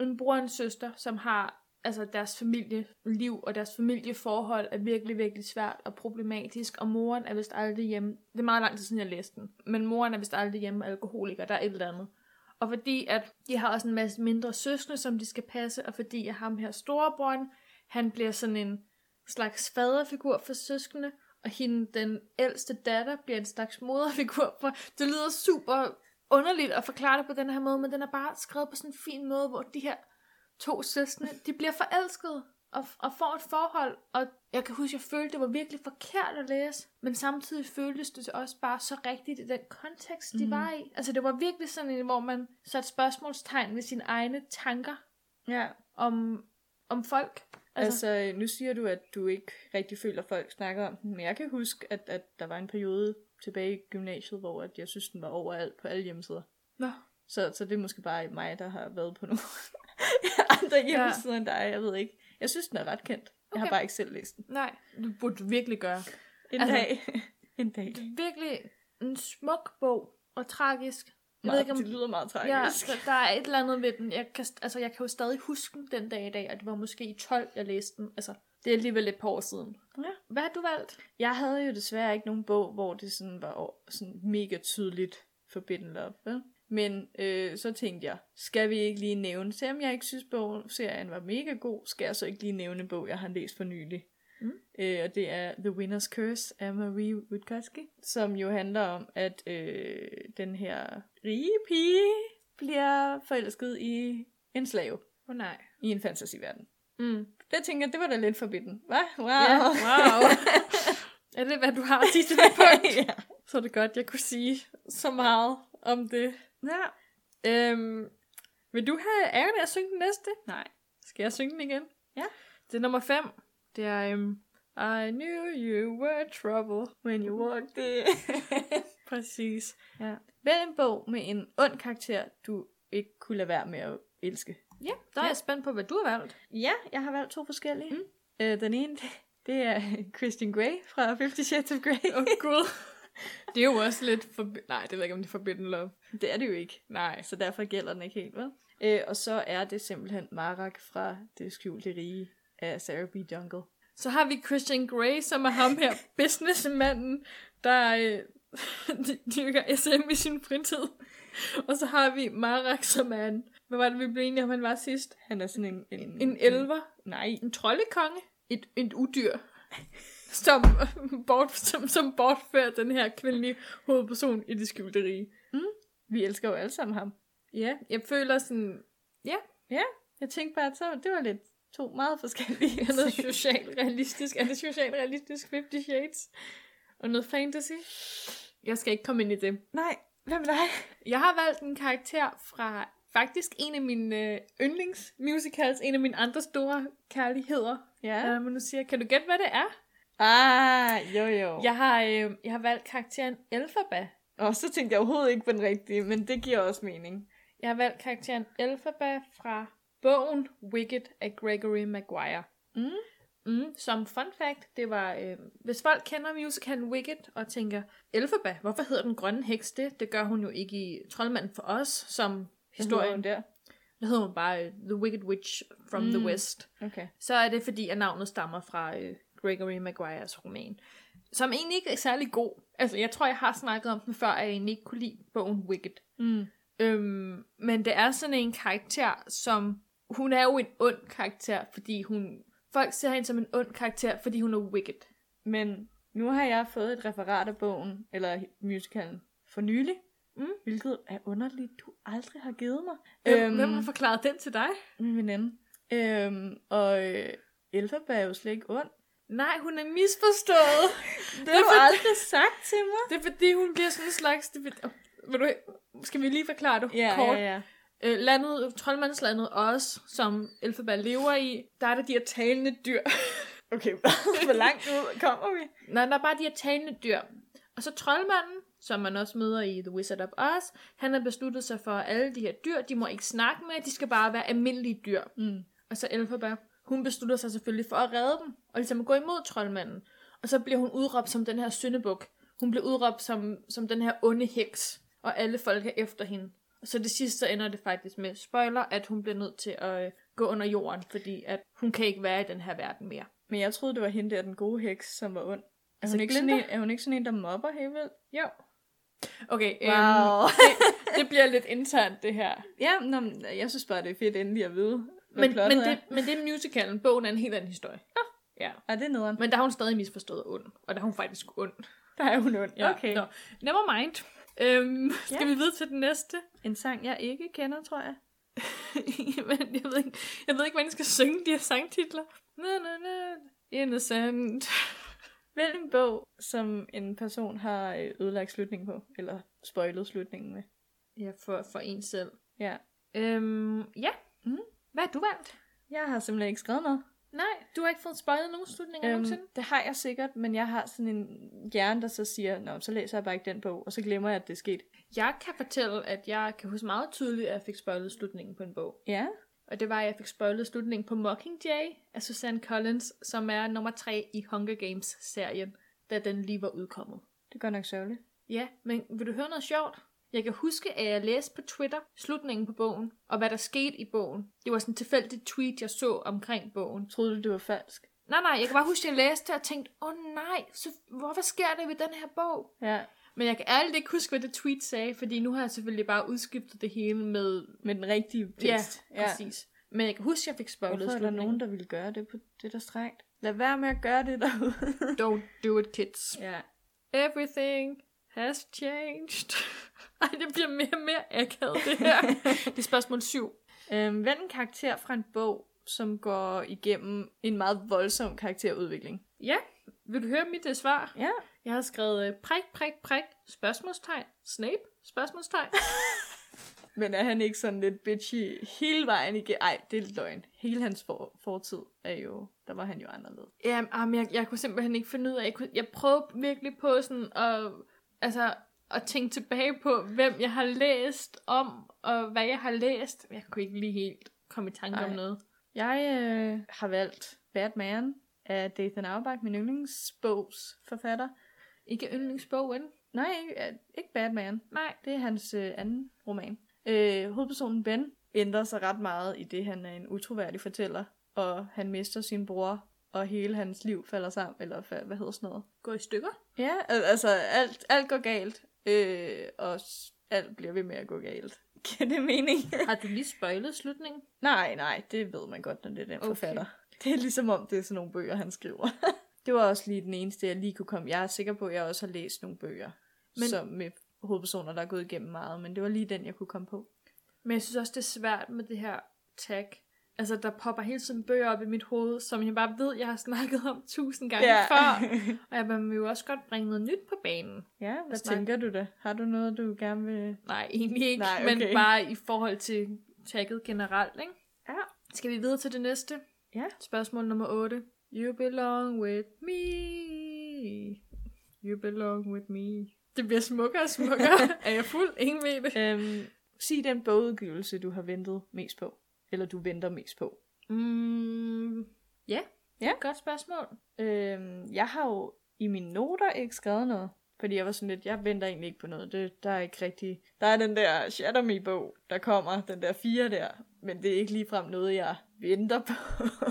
B: en bror og en søster, som har altså deres familieliv og deres familieforhold er virkelig, virkelig svært og problematisk, og moren er vist aldrig hjemme. Det er meget lang tid siden, jeg læste den, men moren er vist aldrig hjemme, alkoholiker, der er et eller andet. Og fordi at de har også en masse mindre søskende, som de skal passe, og fordi at ham her storebroren, han bliver sådan en slags faderfigur for søskende, og hende, den ældste datter, bliver en slags moderfigur for... Det lyder super underligt at forklare det på den her måde, men den er bare skrevet på sådan en fin måde, hvor de her to søskende, de bliver forelskede og, og får et forhold, og jeg kan huske, jeg følte, det var virkelig forkert at læse, men samtidig føltes det også bare så rigtigt i den kontekst, de
A: Mhm.
B: var i. Altså, det var virkelig sådan en, hvor man satte spørgsmålstegn ved sine egne tanker
A: Ja.
B: om, om folk. Altså,
A: Altså, altså, nu siger du, at du ikke rigtig føler, at folk snakker om den, men jeg kan huske, at, at der var en periode tilbage i gymnasiet, hvor at jeg synes, den var overalt på alle hjemmesider.
B: Nå.
A: Så, så det er måske bare mig, der har været på nogle andre hjemmesider ja. end dig, jeg ved ikke. Jeg synes, den er ret kendt. Okay. Jeg har
B: Okay.
A: bare ikke selv læst den.
B: nej, det burde du virkelig gøre.
A: En
B: Altså-
A: dag. en dag.
B: Det er virkelig en smuk bog, og tragisk. Jeg ved
A: Meget,
B: ikke, om,
A: det lyder meget
B: ja,
A: tragisk.
B: så der er et eller andet ved den. Jeg kan, st- altså, jeg kan jo stadig huske den den dag i dag, og det var måske i 12, jeg læste den. Altså, det er alligevel et par år siden.
A: Ja.
B: Hvad har du valgt?
A: Jeg havde jo desværre ikke nogen bog, hvor det sådan var o- sådan mega tydeligt forbidden love, vel? Men øh, så tænkte jeg, skal vi ikke lige nævne, selvom jeg ikke synes, bogen, serien var mega god, skal jeg så ikke lige nævne en bog, jeg har læst for nylig.
B: Mm.
A: Øh, og det er The Winner's Curse af Marie Witkoski, som jo handler om, at øh, den her rige pige bliver forelsket i en slave
B: Åh oh, nej.
A: i en fantasyverden.
B: Mm.
A: Det tænker jeg, det var da lidt forbidden, hva'? Ah, Wow.
B: Ja, wow. er det, hvad du har at sige til det punkt?
A: ja.
B: Så er det godt, jeg kunne sige så meget om det.
A: ja.
B: Øhm, vil du have æren af at synge den næste?
A: Nej.
B: Skal jeg synge den igen?
A: Ja.
B: Det er nummer 5. Det er, um, I knew you were trouble when you walked in. Præcis.
A: Ja. Vælg en bog med en ond karakter, du ikke kunne lade være med at elske.
B: Ja, der er
A: Ja.
B: jeg spændt på, hvad du har valgt.
A: Ja, jeg har valgt to forskellige.
B: Mm.
A: Mm. Øh, den ene, det- det er Christian Grey fra Fifty Shades of Grey.
B: Åh, oh, gud. det er jo også lidt forbi- Nej, det ved jeg ikke, om det er Forbidden Love.
A: Det er det jo ikke,
B: Nej.
A: så derfor gælder den ikke helt, vel? Øh, og så er det simpelthen Marak fra Det skjulte rige af Sarah B. Jungle.
B: Så har vi Christian Grey, som er ham her, businessmanden, der øh, dyrker SM i sin fritid. Og så har vi Marak, som er en... Hvad var det, vi blev enige om, han var sidst?
A: Han er sådan en... En,
B: En elver.
A: Nej,
B: en troldekonge, et, et udyr, som, bort, som, som bortfører den her kvindelige hovedperson i det skjulte rige.
A: vi elsker jo alle sammen ham.
B: Ja, jeg føler sådan,
A: Jeg tænkte bare, at så, det var lidt to meget forskellige.
B: jeg er noget socialrealistisk. Er det socialrealistisk 50 Shades? Og noget fantasy? Jeg skal ikke komme ind i det.
A: Nej, hvad med dig?
B: Jeg har valgt en karakter fra faktisk en af mine øh, yndlingsmusicals, en af mine andre store kærligheder.
A: Ja.
B: Ja. Øh, men nu siger jeg, kan du gætte, hvad det er?
A: Ah, jo jo.
B: Jeg har, øh, jeg har valgt karakteren Elphaba
A: Og så tænkte jeg overhovedet ikke på den rigtige, men det giver også mening.
B: Jeg har valgt karakteren Elphaba fra bogen Wicked af Gregory Maguire.
A: Mm.
B: Mm, som fun fact, det var, øh, hvis folk kender musicalen Wicked og tænker, Elphaba, hvorfor hedder den grønne heks det? Det gør hun jo ikke i Troldmanden for os, som historien.
A: der.
B: Der hedder hun bare øh, The Wicked Witch from mm. the
A: Mm.
B: West
A: Okay.
B: så er det fordi, at navnet stammer fra øh, Gregory Maguires roman, som egentlig ikke er særlig god. Altså, jeg tror, jeg har snakket om den før, at jeg egentlig ikke kunne lide bogen Wicked.
A: Mm.
B: Øhm, men det er sådan en karakter, som... Hun er jo en ond karakter, fordi hun... Folk ser hende som en ond karakter, fordi hun er wicked.
A: Men nu har jeg fået et referat af bogen, eller musicalen, for nylig.
B: Mm.
A: Hvilket er underligt, du aldrig har givet mig.
B: Hvem, øhm, hvem har forklaret den til dig?
A: Min veninde. Øhm, og øh, Elphaba er jo slet ikke ond.
B: Nej, hun er misforstået.
A: Det har du aldrig sagt til mig.
B: Det er fordi, hun bliver sådan en slags... Det, vil- Åh, vil du, skal vi lige forklare det
A: Ja,
B: kort?
A: ja, ja.
B: Øh, landet, troldmandslandet også, som Elfaba lever i, der er der de her talende dyr.
A: Okay, hvor langt ud kommer vi?
B: Nej, der er bare de her talende dyr. Og så troldmanden, som man også møder i The Wizard of Oz, han har besluttet sig for, at alle de her dyr, de må ikke snakke med, de skal bare være almindelige dyr.
A: Mm.
B: Og så Elphaba, hun beslutter sig selvfølgelig for at redde dem, og ligesom at gå imod troldmanden. Og så bliver hun udråbt som den her syndebuk. Hun bliver udråbt som, som den her onde heks, og alle folk er efter hende. Og så det sidste, så ender det faktisk med, spoiler, at hun bliver nødt til at øh, gå under jorden, fordi at hun kan ikke være i den her verden mere.
A: Men jeg troede, det var hende der, den gode heks, som var ond. Er
B: Altså
A: hun, ikke sådan en,
B: Glinda?
A: er hun ikke sådan en, der mobber helt vildt?
B: Jo. Okay, øhm,
A: Øhm,
B: det bliver lidt internt, det her.
A: ja, nå, men øh, jeg synes bare, det er fedt endelig at vide, hvad
B: Men, men,
A: det...
B: det, men det er musicalen. Bogen er en helt anden historie. Ja.
A: er. Er det er nederen?
B: Men der har hun stadig misforstået ond. Og der er hun faktisk ond.
A: Der er hun ond, ja.
B: Nå. Never mind. Øhm, skal
A: Ja.
B: vi videre til den næste?
A: En sang, jeg ikke kender, tror jeg.
B: Men jeg ved ikke, jeg ved ikke hvordan jeg skal synge de her sangtitler. Na, na, na. Innocent.
A: Hvilken bog, som en person har øh, ødelagt slutningen på, eller spoilet slutningen med.
B: Ja, for, for en selv.
A: Ja.
B: Øhm, ja.
A: Mhm.
B: Hvad har du valgt?
A: Jeg har simpelthen ikke skrevet noget.
B: Nej, du har ikke fået spoilet nogen slutninger øhm. nogensinde.
A: Øhm, det har jeg sikkert, men jeg har sådan en hjerne, der så siger, Nå, så læser jeg bare ikke den bog, og så glemmer jeg, at det er sket.
B: Jeg kan fortælle, at jeg kan huske meget tydeligt, at jeg fik spoilet slutningen på en bog.
A: Ja.
B: Og det var, at jeg fik spoilet slutningen på Mockingjay af Suzanne Collins, som er nummer 3 i Hunger Games-serien, da den lige var udkommet.
A: Det er godt nok sørgeligt.
B: Ja, men vil du høre noget sjovt? Jeg kan huske, at jeg læste på Twitter slutningen på bogen, og hvad der skete i bogen. Det var sådan en tilfældig tweet, jeg så omkring bogen.
A: Troede du, det var falsk?
B: Nej, nej, jeg kan bare huske, at jeg læste det og tænkte, åh oh, nej, så hvorfor sker det ved den her bog?
A: Ja.
B: Men jeg kan ærligt ikke huske, hvad det tweet sagde, fordi nu har jeg selvfølgelig bare udskiftet det hele med...
A: Med den rigtige tekst.
B: Ja, præcis. Men jeg kan huske, at jeg fik spoilet
A: Hvorfor er der
B: slutningen.
A: nogen, der ville gøre det på det, der strengt? Lad være med at gøre det derude.
B: Don't do it, kids.
A: ja.
B: Everything has changed. Ej, det bliver mere og mere akavet, det her. det er spørgsmål 7.
A: Øhm, vend en karakter fra en bog, som går igennem en meget voldsom karakterudvikling.
B: Ja, vil du høre mit øh, svar?
A: Ja.
B: Jeg har skrevet øh, prik, prik, prik, spørgsmålstegn, Snape, spørgsmålstegn.
A: Men er han ikke sådan lidt bitchy hele vejen igennem? Ej, det er løgn. Hele hans for- fortid er jo... Der var han jo anderledes.
B: Jamen, ah, men jeg, jeg kunne simpelthen ikke finde ud af, jeg, kunne, jeg prøvede virkelig på sådan at, altså, at tænke tilbage på, hvem jeg har læst om, og hvad jeg har læst. Jeg kunne ikke lige helt komme i tanke om
A: Ej.
B: noget.
A: Jeg øh, har valgt Batman af Dathan Auerbach, min yndlingsbogsforfatter.
B: Ikke yndlingsbogen?
A: Nej, ikke, øh, ikke Batman.
B: Nej.
A: Det er hans øh, anden roman. Øh, hovedpersonen Ben ændrer sig ret meget i det, han er en utroværdig fortæller, og han mister sin bror, og hele hans liv falder sammen, eller fa- hvad hedder sådan noget?
B: Gå i stykker?
A: Ja, al- altså alt, alt går galt, øh, og s- alt bliver ved med at gå galt. Giver det mening?
B: Har du lige spoilet slutningen?
A: nej, nej, det ved man godt, når det er den
B: Okay.
A: okay. forfatter. Det er ligesom om, det er sådan nogle bøger, han skriver. det var også lige den eneste, jeg lige kunne komme. Jeg er sikker på, at jeg også har læst nogle bøger,
B: Men-
A: men... som med hovedpersoner, der er gået igennem meget, men det var lige den, jeg kunne komme på.
B: Men jeg synes også, det er svært med det her tag. Altså, der popper hele tiden bøger op i mit hoved, som jeg bare ved, jeg har snakket om tusind gange ja. før. Og jeg man vil jo også godt bringe noget nyt på banen.
A: ja, hvad
B: Snak.
A: tænker du da? Har du noget, du gerne vil...
B: Nej, egentlig ikke,
A: Nej,
B: okay. men
A: okay.
B: bare i forhold til tagget generelt, ikke?
A: Ja.
B: Skal vi videre til det næste?
A: Ja.
B: Spørgsmål nummer 8. You belong with me. You belong with me. Det bliver smukkere og smukkere. er jeg fuld? Ingen ved det.
A: Øhm, sig den bogudgivelse, du har ventet mest på. Eller du venter mest på.
B: Mm, ja, det er
A: Ja.
B: et godt spørgsmål.
A: Øhm, jeg har jo i mine noter ikke skrevet noget. Fordi jeg var sådan lidt, jeg venter egentlig ikke på noget. Det, der er ikke rigtig... Der er den der Shatter Me-bog, der kommer. Den der fire der. Men det er ikke ligefrem noget, jeg venter på.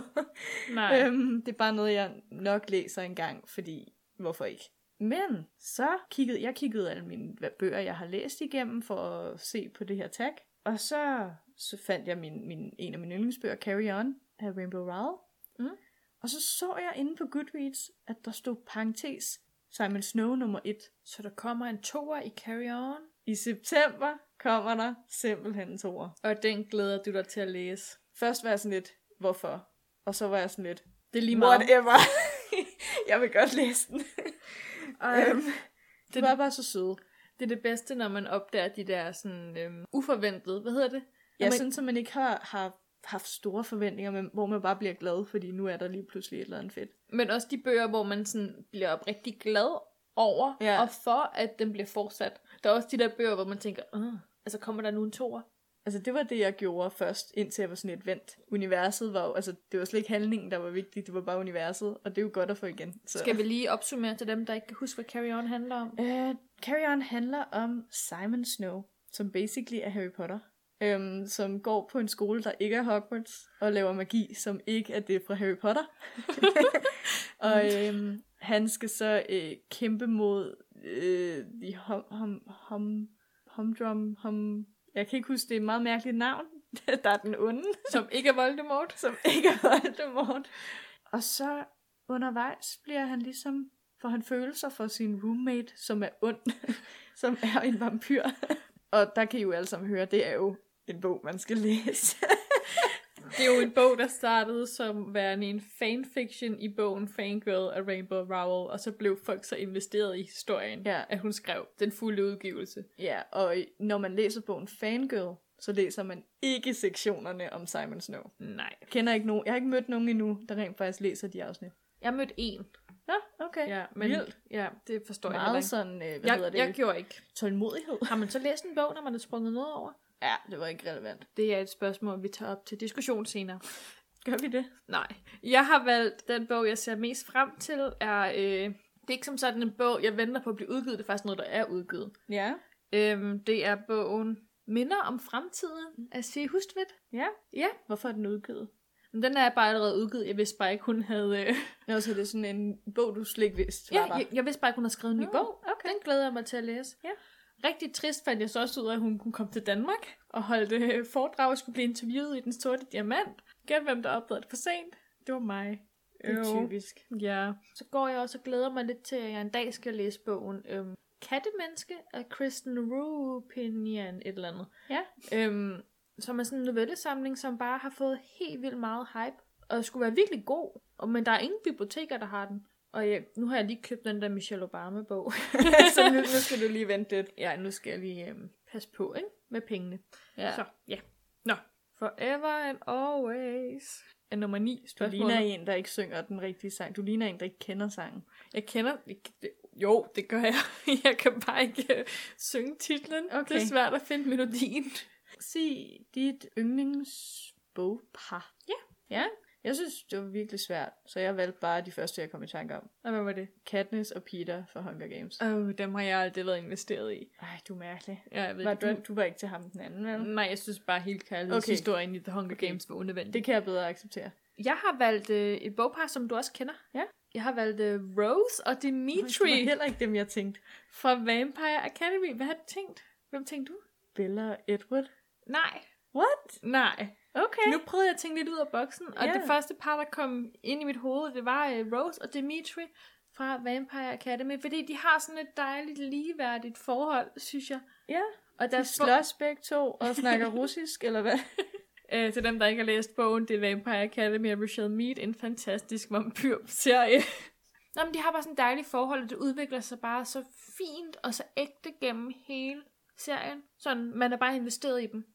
B: Øh, Nej.
A: øhm, det er bare noget, jeg nok læser en gang, fordi hvorfor ikke? Men så kiggede jeg kiggede alle mine hva- bøger, jeg har læst igennem for at se på det her tag. Og så, så fandt jeg min, min, en af mine yndlingsbøger, Carry On, af Rainbow Rowell.
B: Mm.
A: Og så så jeg inde på Goodreads, at der stod parentes Simon Snow nummer 1.
B: Så der kommer en toer i Carry On.
A: I september kommer der simpelthen en toer.
B: Og den glæder du dig til at læse.
A: Først var jeg sådan lidt, hvorfor? Og så var jeg sådan lidt,
B: Det er lige meget.
A: whatever. jeg vil godt læse den.
B: Ej,
A: Øhm, det var bare så søde.
B: Det er det bedste, når man opdager de der sådan øhm, uforventede, hvad hedder det? Når
A: Ja, man...
B: man-
A: sådan så man ikke har, har haft store forventninger, men hvor man bare bliver glad, fordi nu er der lige pludselig et eller andet fedt.
B: Men også de bøger, hvor man sådan bliver oprigtig glad over,
A: Ja.
B: ja. og for at den bliver fortsat. Der er også de der bøger, hvor man tænker, "Åh, altså kommer der nu en toer?
A: Altså det var det, jeg gjorde først, indtil jeg var sådan et vent. Universet var jo, altså det var slet ikke handlingen, der var vigtig, det var bare universet, og det er jo godt at få igen. Så.
B: Skal vi lige opsummere til dem, der ikke kan huske, hvad Carry On handler om?
A: Øh, Carry On handler om Simon Snow, som basically er Harry Potter. Øhm, som går på en skole, der ikke er Hogwarts, og laver magi, som ikke er det fra Harry Potter. og øhm, han skal så øh, kæmpe mod øh, de hom, hom, hom, homdrum, hom, jeg kan ikke huske, det er et meget mærkeligt navn, der er den onde,
B: Som ikke er Voldemort?
A: som ikke er Voldemort. Og så undervejs bliver han ligesom, for han følelser for sin roommate, som er ond, som er en vampyr. Og der kan I jo alle sammen høre, det er jo en bog, man skal læse.
B: Det er jo en bog, der startede som værende en fanfiction i bogen Fangirl af Rainbow Rowell, og så blev folk så investeret i historien,
A: Ja.
B: at hun skrev den fulde udgivelse.
A: ja, og i- når man læser bogen Fangirl, så læser man ikke sektionerne om Simon Snow.
B: Nej.
A: Jeg kender ikke nogen, jeg har ikke mødt nogen endnu, der rent faktisk læser de afsnit.
B: Jeg mødte en.
A: Nå, okay.
B: Ja, men
A: Vildt.
B: ja, det forstår jeg
A: Meget
B: heller ikke.
A: sådan, øh, hvad jeg, hedder
B: Jeg,
A: det?
B: jeg gjorde ikke.
A: Tålmodighed.
B: Har man så læst en bog, når man er sprunget noget over?
A: Ja, det var ikke relevant.
B: Det er et spørgsmål, vi tager op til diskussion senere.
A: Gør vi det?
B: Nej. Jeg har valgt den bog, jeg ser mest frem til, er... Øh, det er ikke som sådan en bog, jeg venter på at blive udgivet. Det er faktisk noget, der er udgivet.
A: Ja.
B: Øhm, det er bogen Minder om fremtiden af C. Hustvedt.
A: Ja.
B: Ja,
A: Hvorfor er den udgivet?
B: men den er bare allerede udgivet. Jeg vidste bare ikke, hun havde... Øh...
A: Nå, så det er sådan en bog, du slet ikke vidste,
B: Ja,
A: var der.
B: jeg, jeg vidste bare ikke, hun havde skrevet en ny
A: Nå,
B: bog. Okay. Den glæder jeg mig til at læse.
A: Ja.
B: Rigtig trist fandt jeg så også ud af, at hun kunne komme til Danmark og holde øh, foredrag og skulle blive interviewet i Den Sorte Diamant. Gæt hvem, der opdagede det for sent. Det var mig.
A: det er
B: Øv.
A: typisk.
B: Ja. Så går jeg også og glæder mig lidt til, at jeg en dag skal læse bogen øhm, Kattemenneske af Kristen Rupinian et eller andet.
A: Ja.
B: Øhm, som er sådan en novellesamling, som bare har fået helt vildt meget hype. Og skulle være virkelig god, og, men der er ingen biblioteker, der har den. Og jeg, nu har jeg lige købt den der Michelle Obama-bog.
A: så nu, nu skal du lige vente lidt.
B: ja, nu skal jeg lige øhm, passe på, ikke? Med pengene.
A: Ja.
B: Så, ja. Nå. Forever and always. Er nummer 9
A: Du
B: spørgsmålet.
A: ligner en, der ikke synger den rigtige sang. Du ligner en, der ikke kender sangen.
B: Jeg kender... ikke- det- Jo, det gør jeg. Jeg kan bare ikke øh, synge titlen.
A: Okay.
B: Det er svært at finde melodien.
A: Sig dit yndlingsbogpar.
B: Ja.
A: Ja. Jeg synes, det var virkelig svært, så jeg valgte bare de første, jeg kom i tanke om.
B: Og hvad var det?
A: Katniss og Peter fra Hunger Games.
B: Åh, oh, dem har jeg aldrig været investeret i.
A: Ej, du er mærkelig.
B: Ja, jeg ved
A: Var
B: ikke,
A: du, Mm. du var ikke til ham den anden,
B: hvad-
A: vel?
B: Nej, jeg synes bare helt kærlighedshistorien okay. i The Hunger
A: Okay.
B: okay. Games var unødvendig.
A: Det kan jeg bedre acceptere.
B: Jeg har valgt øh, et bogpar, som du også kender.
A: Ja.
B: Jeg har valgt øh, Rose og
A: Det var
B: Dimitri
A: heller ikke dem, jeg tænkte.
B: fra Vampire Academy. Hvad har du tænkt? Hvem tænkte du?
A: Bella og Edward.
B: Nej.
A: What?
B: Nej.
A: Okay.
B: Nu prøvede jeg at tænke lidt ud af boksen, og
A: Ja.
B: yeah. det første par, der kom ind i mit hoved, det var øh, Rose og Dimitri fra Vampire Academy, fordi de har sådan et dejligt ligeværdigt forhold, synes jeg.
A: Ja.
B: Og
A: Der
B: der
A: slås begge to og snakker russisk, eller hvad?
B: øh, til dem, der ikke har læst bogen, det er Vampire Academy af Rachel Mead, en fantastisk vampyrserie. Nå, men de har bare sådan et dejligt forhold, og det udvikler sig bare så fint og så ægte gennem hele serien. Sådan, man er bare investeret i dem.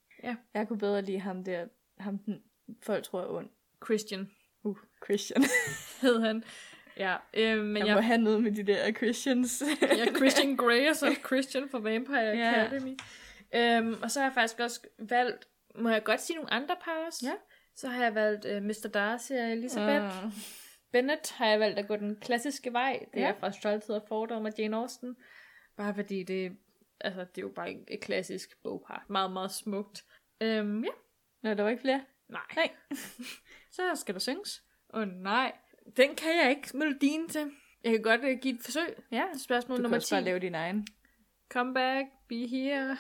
A: Jeg kunne bedre lide ham der, ham den, folk tror er ond.
B: Christian
A: Uh, Christian.
B: hed han. Ja, øh, men
A: Jeg
B: jeg
A: må have noget med de der Christians.
B: Ja, Christian Grey og så Christian fra Vampire
A: Ja.
B: Academy. Øhm, og så har jeg faktisk også valgt, må jeg godt sige nogle andre par også?
A: Ja. Ah.
B: Så har jeg valgt uh, Mr. Darcy og Elizabeth. Uh. Bennett har jeg valgt at gå den klassiske vej. Det
A: Ja.
B: ja. er fra Stolthed og Fordom og Jane Austen. Bare fordi det, altså, det er jo bare et klassisk bogpar. Meget, meget smukt. Øhm, ja,
A: Nå, der var ikke flere.
B: nej.
A: Nej. Så skal der synges.
B: Åh oh, nej, den kan jeg ikke melodien til. Jeg kan godt øh, give et forsøg.
A: Ja,
B: Spørgsmål
A: du kan
B: nummer
A: også
B: 10.
A: bare lave din egen.
B: Come back, be here.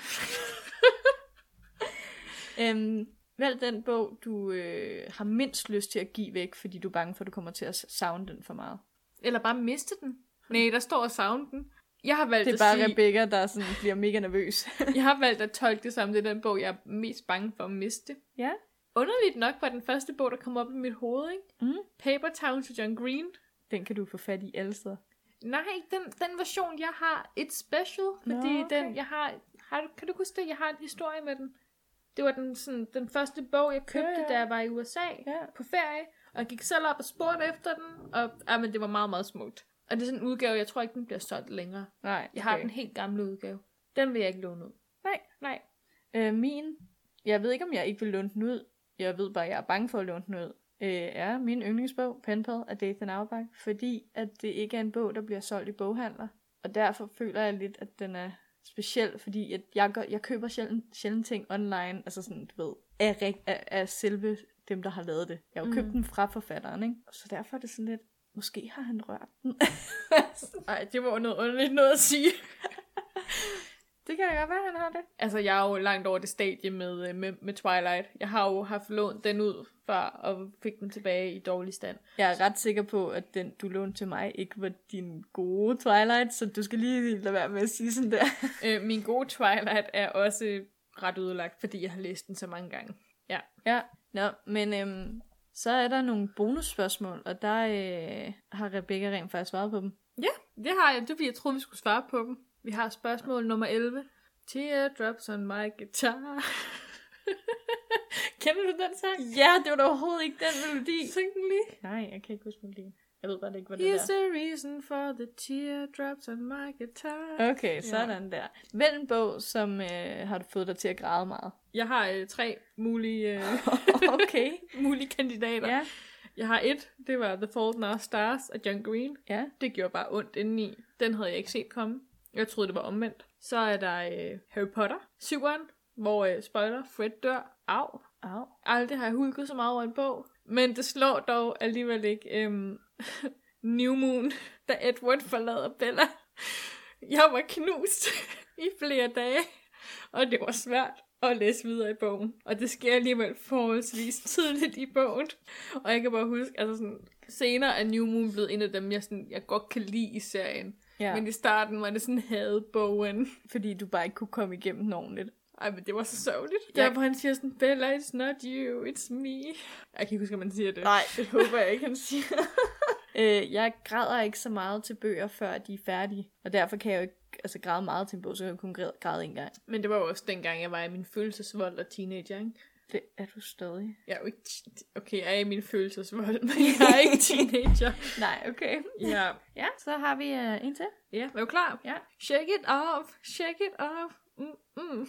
A: Øhm, vælg den bog, du øh, har mindst lyst til at give væk, fordi du er bange for, at du kommer til at savne den for meget.
B: Eller bare miste den. Nej, der står at savne den. Jeg har valgt
A: Det er
B: at
A: bare
B: sige,
A: Rebecca, der sådan bliver mega nervøs.
B: jeg har valgt at tolke det som det er den bog, jeg er mest bange for at miste.
A: ja.
B: Underligt nok var den første bog, der kom op i mit hoved, ikke?
A: Mm.
B: Paper Town til John Green.
A: Den kan du få fat i alle steder.
B: Nej, den, den version, jeg har, et special, fordi
A: Nå,
B: Nå,
A: okay.
B: okay. den, jeg har, har, du- kan du huske det, jeg har en historie med den. Det var den, sådan, den første bog, jeg købte,
A: Ja,
B: ja,
A: ja.
B: ja. da jeg var i USA
A: Ja.
B: på ferie, og jeg gik selv op og spurgte efter den, og ah, men det var meget, meget smukt. Og det er sådan en udgave, jeg tror ikke, den bliver solgt længere.
A: Nej,
B: Jeg har den helt gamle udgave. Den vil jeg ikke låne ud.
A: Nej.
B: Nej.
A: Øh, min, jeg ved ikke, om jeg ikke vil låne den ud. Jeg ved bare, at jeg er bange for at låne den ud. Øh, er min yndlingsbog, Penpal af Dathan Auerbach, fordi at det ikke er en bog, der bliver solgt i boghandler. Og derfor føler jeg lidt, at den er speciel, fordi at jeg, gør, jeg køber sjældent, sjældent ting online, altså sådan, du ved, af, rig- af, af selve dem, der har lavet det. Jeg har jo købt
B: Mm.
A: den fra forfatteren, ikke? Så derfor er det sådan lidt, måske har han rørt den.
B: Nej, det var noget underligt noget at sige.
A: det kan da godt være, han har det.
B: Altså, jeg er jo langt over det stadie med, øh, med, med Twilight. Jeg har jo haft lånt den ud før, og fik den tilbage i dårlig stand.
A: Jeg er ret sikker på, at den, du lånte til mig, ikke var din gode Twilight, så du skal lige lade være med at sige sådan der.
B: Øh, min gode Twilight er også øh, ret ødelagt, fordi jeg har læst den så mange gange.
A: Ja, nå, men øhm, så er der nogle bonusspørgsmål, og der øh, har Rebecca rent faktisk svaret på dem.
B: Det har jeg, det er fordi jeg troede, vi skulle svare på dem. Vi har spørgsmål nummer 11. Teardrops on my guitar. Kender du den sang?
A: Ja, det var da overhovedet ikke den melodi.
B: Syng den lige.
A: Nej, jeg kan ikke huske melodien. Jeg ved bare ikke, hvad det
B: Here's
A: er.
B: the reason for the teardrops on my guitar.
A: Okay, sådan der. Hvilken bog, som øh, har du fået dig til at græde meget?
B: Jeg har øh, tre mulige, øh,
A: okay.
B: mulige kandidater.
A: ja,
B: Jeg har et, det var The Fault in Our Stars af John Green.
A: ja.
B: Det gjorde bare ondt indeni. Den havde jeg ikke set komme. Jeg troede, det var omvendt. Så er der øh, Harry Potter, syveren, hvor, øh, spoiler, Fred dør. Au.
A: Au.
B: Aldrig har jeg hulket så meget over en bog. Men det slår dog alligevel ikke øhm, New Moon, da Edward forlader Bella. Jeg var knust i flere dage, og det var svært at læse videre i bogen. Og det sker alligevel forholdsvis tidligt i bogen. Og jeg kan bare huske, altså sådan, senere er New Moon blevet en af dem, jeg, sådan, jeg godt kan lide i serien.
A: Ja,
B: Ja. Men
A: men...
B: i starten var det sådan, havde bogen.
A: fordi du bare ikke kunne komme igennem den ordentligt.
B: Ej, men det var så sørgeligt.
A: Jeg-
B: Der, hvor han siger sådan, Bella, it's not you, it's me. Jeg kan ikke huske, om man siger det.
A: Nej, det håber jeg ikke, han siger. øh, jeg græder ikke så meget til bøger, før de er færdige. Og derfor kan jeg jo ikke altså, græde meget til en bog, så kan jeg kun græde, græde en gang.
B: Men det var jo også dengang, jeg var i min følelsesvold og teenager, ikke?
A: Det er du stadig.
B: Jeg er jo ikke... t- Okay, jeg er i min følelsesvold, men jeg er ikke teenager.
A: Nej, okay.
B: ja.
A: Ja, så har vi øh, en til.
B: Ja, er du klar?
A: Ja.
B: Shake it off, shake it off. Mm, mm.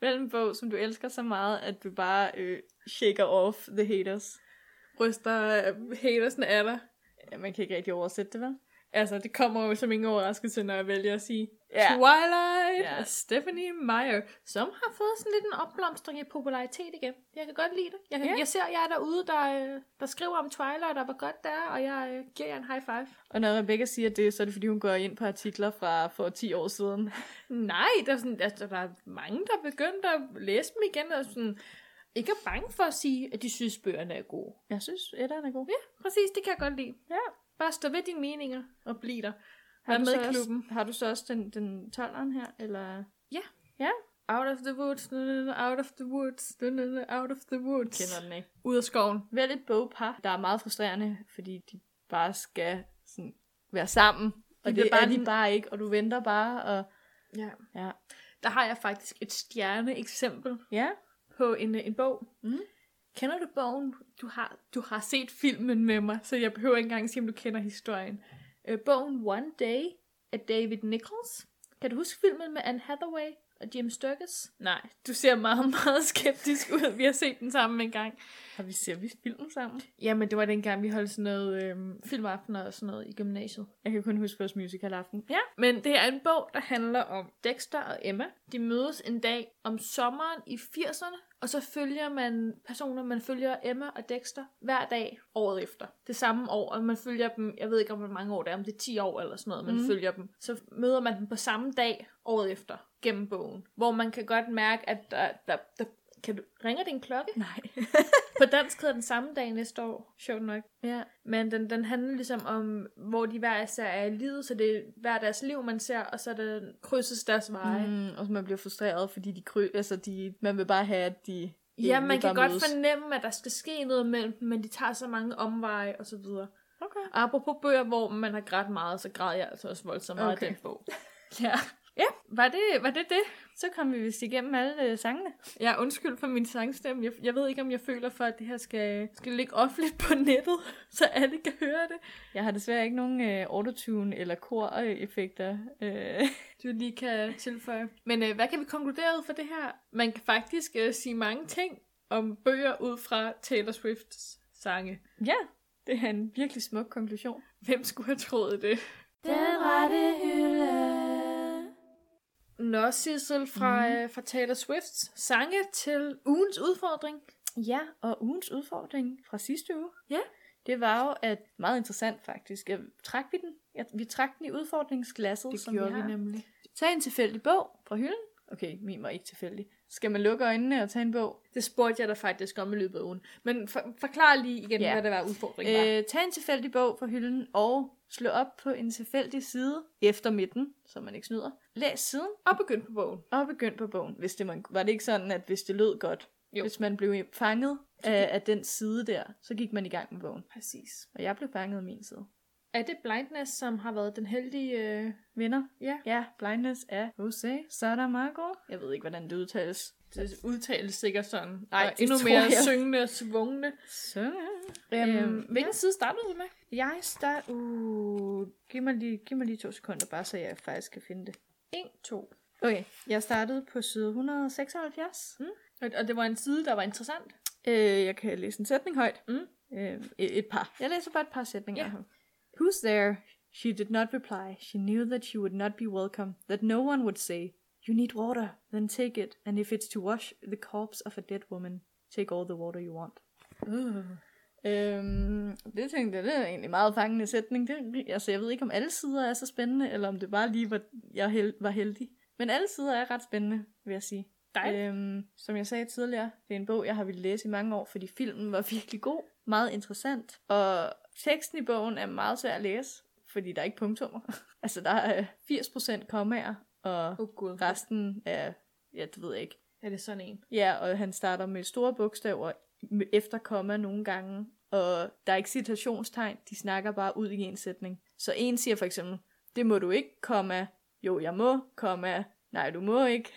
A: Vel en bog, som du elsker så meget, at du bare øh, shaker off the haters.
B: Ryster øh, hatersen af dig.
A: Ja, man kan ikke rigtig oversætte det, vel?
B: Altså, det kommer jo som ingen overraskelse, når jeg vælger at sige
A: Ja.
B: Twilight
A: Ja.
B: ja. og Stephanie Meyer, som har fået sådan lidt en opblomstring i popularitet igen. Jeg kan godt lide det. Jeg, kan,
A: Ja.
B: jeg ser jer derude, der, øh, der skriver om Twilight og hvor godt det er, og jeg øh, giver jer en high five.
A: Og når Rebecca siger det, så er det fordi, hun går ind på artikler fra for 10 år siden.
B: Nej, der er, sådan, altså, der er mange, der er begyndt at læse dem igen, og sådan, ikke er bange for at sige, at de synes, bøgerne er gode.
A: Jeg synes, etteren er god.
B: Præcis, det kan jeg godt lide.
A: Ja.
B: Bare stå ved dine meninger og bliv der.
A: Har
B: Vær
A: du,
B: med
A: så
B: i klubben.
A: Også, har du så også den, den 12'eren her, eller?
B: Out of the woods, no, no, no, out of the woods, no, no, no, out of the woods.
A: Kender den ikke.
B: Ud af skoven.
A: Vælg et bogpar, der er meget frustrerende, fordi de bare skal sådan, være sammen. Og
B: bliver
A: det
B: bare
A: er de
B: den-
A: bare ikke, og du venter bare. Og...
B: Ja.
A: Ja.
B: Der har jeg faktisk et stjerneeksempel
A: ja.
B: på en, øh, en bog.
A: Mm.
B: Kender du bogen? Du har, du har set filmen med mig, så jeg behøver ikke engang sige, om du kender historien. Øh, bogen One Day af David Nichols. Kan du huske filmen med Anne Hathaway og Jim Sturgis? Nej, du ser meget, meget skeptisk ud. Vi har set den sammen en gang.
A: Har vi ser vi filmen sammen?
B: Jamen, det var dengang, vi holdt sådan noget øhm, filmaftener og sådan noget i gymnasiet.
A: Jeg kan kun huske vores musical aften.
B: Ja. Men det er en bog, der handler om Dexter og Emma. De mødes en dag om sommeren i 80'erne Og så følger man personer, man følger Emma og Dexter hver dag året efter. Det samme år, og man følger dem, jeg ved ikke om hvor mange år det er, om det er 10 år eller sådan noget, man
A: Mhm.
B: mm. følger dem. Så møder man dem på samme dag året efter gennem bogen, hvor man kan godt mærke, at der, der, der kan du, ringer din klokke?
A: Nej.
B: På dansk hedder den samme dag næste år, sjovt nok.
A: ja.
B: Men den, den handler ligesom om, hvor de hver især er i livet, så det er hver deres liv, man ser, og så er der krydses deres veje. Mm.
A: Mm, og så man bliver frustreret, fordi de kry, altså de, man vil bare have, at de
B: Ja,
A: egentlig
B: man kan
A: bare
B: godt fornemme, at der skal ske noget mellem dem, men de tager så mange omveje og så videre.
A: Okay.
B: Og apropos bøger, hvor man har grædt meget, så græd jeg altså også voldsomt meget
A: Okay.
B: okay. den bog.
A: Ja. ja. Var det, var det det? Så kom vi vist igennem alle øh, sangene.
B: Ja, undskyld for min sangstemme. Jeg, jeg ved ikke, om jeg føler for, at det her skal, skal ligge offentligt på nettet, så alle kan høre det.
A: Jeg har desværre ikke nogen øh, autotune eller kor-effekter. Øh.
B: du lige kan tilføje. Men øh, hvad kan vi konkludere ud fra det her? Man kan faktisk øh, sige mange ting om bøger ud fra Taylor Swifts sange.
A: Ja, det er en virkelig smuk konklusion.
B: Hvem skulle have troet det?
A: Den rette hylde.
B: Nå, Sissel, fra, mm. øh, fra Taylor Swifts sange til ugens udfordring.
A: Ja, og ugens udfordring fra sidste uge.
B: Ja.
A: Det var jo at, meget interessant faktisk, jeg, trak vi den? Jeg, vi trak den i udfordringsglasset, som vi, har.
B: nemlig.
A: Tag en tilfældig bog fra hylden. Okay, min var ikke tilfældig. Skal man lukke øjnene og tage en bog?
B: Det spurgte jeg dig faktisk om i løbet af ugen. Men for, forklar lige igen,
A: Ja.
B: ja. hvad det var udfordringen var.
A: Øh, tag en tilfældig bog fra hylden og slå op på en tilfældig side efter midten, så man ikke snyder. Læs siden
B: Og begynd på bogen.
A: og begynd på bogen. Hvis det man, var det ikke sådan, at hvis det lød godt, jo.
B: Jo.
A: hvis man blev fanget af, af den side der, så gik man i gang med bogen.
B: Præcis.
A: Og jeg blev fanget af min side.
B: Er det Blindness, som har været den heldige... Øh...
A: Vinder?
B: Ja.
A: Ja, Blindness af Jose Saramago. Jeg ved ikke, hvordan det udtales.
B: Det udtales sikkert sådan.
A: Ej,
B: Nej,
A: det
B: endnu
A: tror
B: mere
A: jeg.
B: syngende og svungne.
A: Så
B: Øhm,
A: Øhm,
B: hvilken side startede du med?
A: Jeg starter... Uh, giv, mig lige, giv mig lige to sekunder, bare så jeg faktisk kan finde det.
B: 1, 2.
A: Okay, jeg startede på side 176.
B: Og, og det var en side, der var interessant.
A: Øh, jeg kan læse en sætning højt.
B: Mm.
A: Øh, et, et par. Jeg læser bare et par sætninger
B: Ja.
A: yeah. Who's there? She did not reply. She knew that she would not be welcome. That no one would say, You need water, then take it. And if it's to wash the corpse of a dead woman, take all the water you want.
B: Uh.
A: Øhm, det tænkte jeg, det er egentlig meget fangende sætning. Det, altså, jeg ved ikke, om alle sider er så spændende, eller om det bare lige var, jeg held, var heldig. Men alle sider er ret spændende, vil jeg sige.
B: Dejligt.
A: Øhm, som jeg sagde tidligere, det er en bog, jeg har ville læse i mange år, fordi filmen var
B: Øh,
A: virkelig god, meget interessant, og teksten i bogen er meget svær at læse, fordi der er ikke punktummer. altså, der er øh, 80% kommaer, og
B: Oh, gud.
A: resten er, ja, det ved jeg ikke,
B: Er det sådan en?
A: Ja, og han starter med store bogstaver med efter komma nogle gange, og der er ikke citationstegn, de snakker bare ud i en sætning. Så en siger for eksempel, det må du ikke, komma, jo jeg må, komma, nej du må ikke.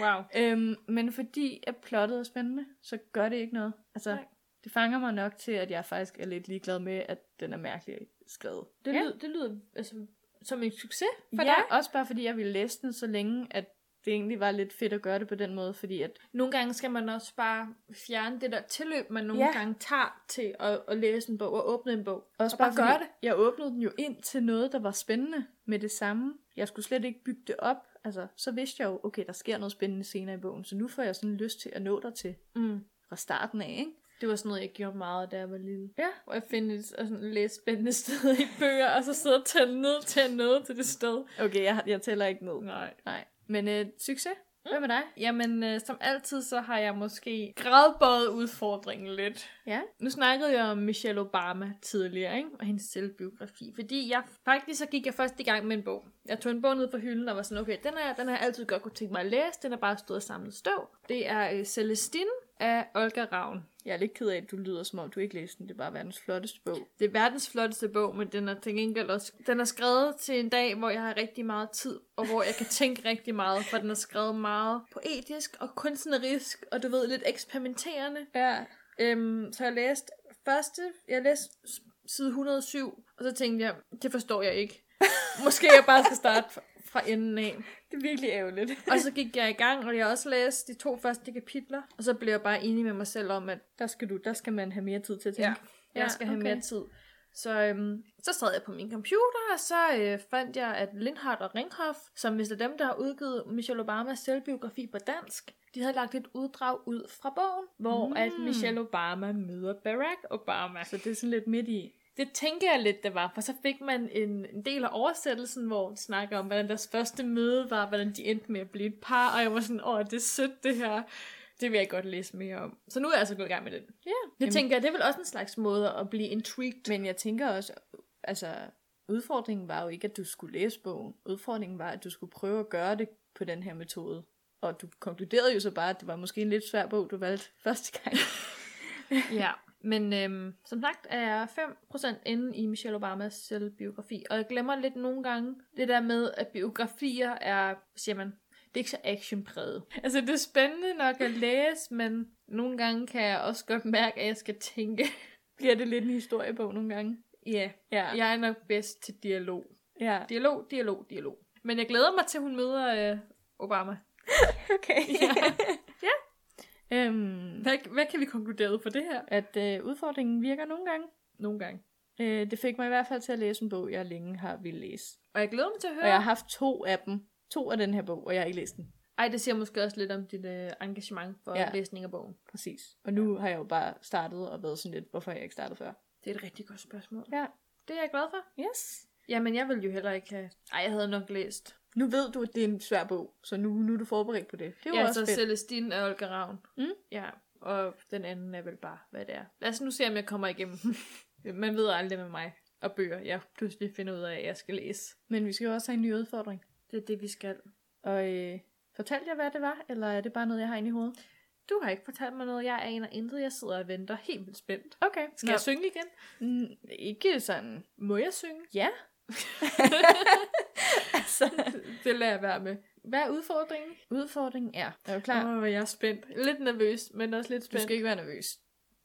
B: Wow.
A: øhm, men fordi at plottet er spændende, så gør det ikke noget. Altså, nej.
B: Nej.
A: det fanger mig nok til, at jeg faktisk er lidt ligeglad med, at den er mærkelig skrevet.
B: Det,
A: Ja.
B: ja. lyder, det lyder altså, som en succes for
A: For
B: dig.
A: ja, også bare fordi jeg ville læse den så længe, at det egentlig var lidt fedt at gøre det på den måde, fordi at
B: Nogle gange skal man også bare fjerne det der tilløb, man nogle
A: Ja.
B: ja. gange tager til at, at læse en bog og åbne en bog.
A: Også
B: og
A: bare, bare
B: gøre
A: fordi, det. Jeg åbnede den jo ind til noget, der var spændende med det samme. Jeg skulle slet ikke bygge det op. Altså, så vidste jeg jo, okay, der sker noget spændende senere i bogen, så nu får jeg sådan lyst til at nå der til
B: det. Mm.
A: fra starten af, ikke?
B: Det var sådan noget, jeg gjorde meget, da jeg var lille.
A: Ja.
B: Hvor jeg finde et
A: altså,
B: og sådan, læse spændende sted i bøger, og så sidde og tælle ned, tælle ned til det sted.
A: Okay, jeg, jeg tæller ikke ned.
B: Nej.
A: Nej. Men øh, succes. Mm. Hvad med dig?
B: Jamen, øh, som altid, så har jeg måske gradbøjet udfordringen lidt.
A: Ja.
B: Nu snakkede jeg om Michelle Obama tidligere, ikke? Og hendes selvbiografi. Fordi jeg faktisk så gik jeg først i gang med en bog. Jeg tog en bog ned fra hylden og var sådan, okay, den her, den har jeg altid godt kunne tænke mig at læse. Den er bare stået og samlet støv. Det er øh, Celestine af Olga Ravn.
A: Jeg er lidt ked af, at du lyder som om, du ikke læste den. Det er bare verdens flotteste bog.
B: Det er verdens flotteste bog, men den er til gengæld også... Den er skrevet til en dag, hvor jeg har rigtig meget tid, og hvor jeg kan tænke rigtig meget, for den er skrevet meget poetisk og kunstnerisk, og du ved, lidt eksperimenterende.
A: Ja.
B: Øhm, så jeg læste første... Jeg læste s- side 107, og så tænkte jeg, det forstår jeg ikke. Måske jeg bare skal starte fra- fra enden af.
A: Det er virkelig ærgerligt.
B: Og så gik jeg i gang, og jeg også læste de to første kapitler, og så blev jeg bare enig med mig selv om, at
A: Der skal, du, der skal man have mere tid til at tænke.
B: tænke. Ja,
A: Ja,
B: jeg skal have
A: okay.
B: mere tid. Så, øhm, så sad jeg på min computer, og så øh, fandt jeg, at Lindhardt og Ringhoff, som hvis det er dem, der har udgivet Michelle Obamas selvbiografi på dansk, de havde lagt et uddrag ud fra bogen, hvor mm. at Michelle Obama møder Barack Obama.
A: Så det er sådan lidt midt i.
B: Det tænker jeg lidt, det var, for så fik man en, en del af oversættelsen, hvor de snakker om, hvordan deres første møde var, hvordan de endte med at blive et par, og jeg var sådan, åh, det er sødt det her. Det vil jeg godt læse mere om. Så nu er jeg altså gået i gang med den. Det
A: Ja.
B: Jamen. tænker jeg, det er vel også en slags måde at blive intrigued.
A: Men jeg tænker også, altså udfordringen var jo ikke, at du skulle læse bogen. Udfordringen var, at du skulle prøve at gøre det på den her metode. Og du konkluderede jo så bare, at det var måske en lidt svær bog, du valgte første gang.
B: Ja, men øhm, som sagt er jeg 5% inde i Michelle Obamas selvbiografi, og jeg glemmer lidt nogle gange det der med, at biografier er, hvad siger man, det er ikke så actionpræget. Altså, det er spændende nok at læse, men nogle gange kan jeg også godt mærke, at jeg skal tænke.
A: Bliver det lidt en historiebog nogle gange?
B: Ja,
A: Ja.
B: jeg er nok bedst til dialog.
A: Ja.
B: Dialog, dialog, dialog. Men jeg glæder mig til, hun møder øh, Obama.
A: Okay.
B: Ja.
A: øhm,
B: Hvad, hvad kan vi konkludere ud fra det her?
A: at øh, udfordringen virker nogle gange.
B: Nogle gange.
A: Øh, det fik mig i hvert fald til at læse en bog, jeg længe har ville læse.
B: Og jeg glæder mig til at høre.
A: Og jeg har haft to af dem. To af den her bog, og jeg har ikke læst den.
B: Ej, det siger måske også lidt om dit øh, engagement for
A: Ja.
B: ja. læsning af bogen.
A: Præcis. Og nu har jeg jo bare startet og været sådan lidt, hvorfor har jeg ikke startet før.
B: Det er et rigtig godt spørgsmål.
A: Ja.
B: Det er jeg glad for.
A: Yes.
B: Jamen, jeg ville jo heller ikke have... Ej, jeg havde nok læst.
A: Nu ved du, at det er en svær bog, så nu, nu er du forberedt på det. Det er jo
B: ja,
A: også
B: så
A: fedt.
B: Celestine og Olga Ravn.
A: Mm.
B: Ja, og den anden er vel bare, hvad det er. Lad os nu se, om jeg kommer igennem. Man ved aldrig med mig og bøger, jeg pludselig finder ud af, at jeg skal læse.
A: Men vi skal jo også have en ny udfordring.
B: Det er det, vi skal.
A: Og øh, fortalte jeg, hvad det var, eller er det bare noget, jeg har inde i hovedet?
B: Du har ikke fortalt mig noget. Jeg aner intet. Jeg sidder og venter helt vildt spændt.
A: Okay.
B: Skal Nå. jeg synge igen?
A: Mm, ikke sådan...
B: Må jeg synge?
A: Ja. altså,
B: Det lader jeg være med. Hvad er udfordringen?
A: udfordringen er... Er du klar?
B: Åh, oh, jeg er spændt. Lidt nervøs, men også lidt
A: Du
B: spændt.
A: skal ikke være nervøs.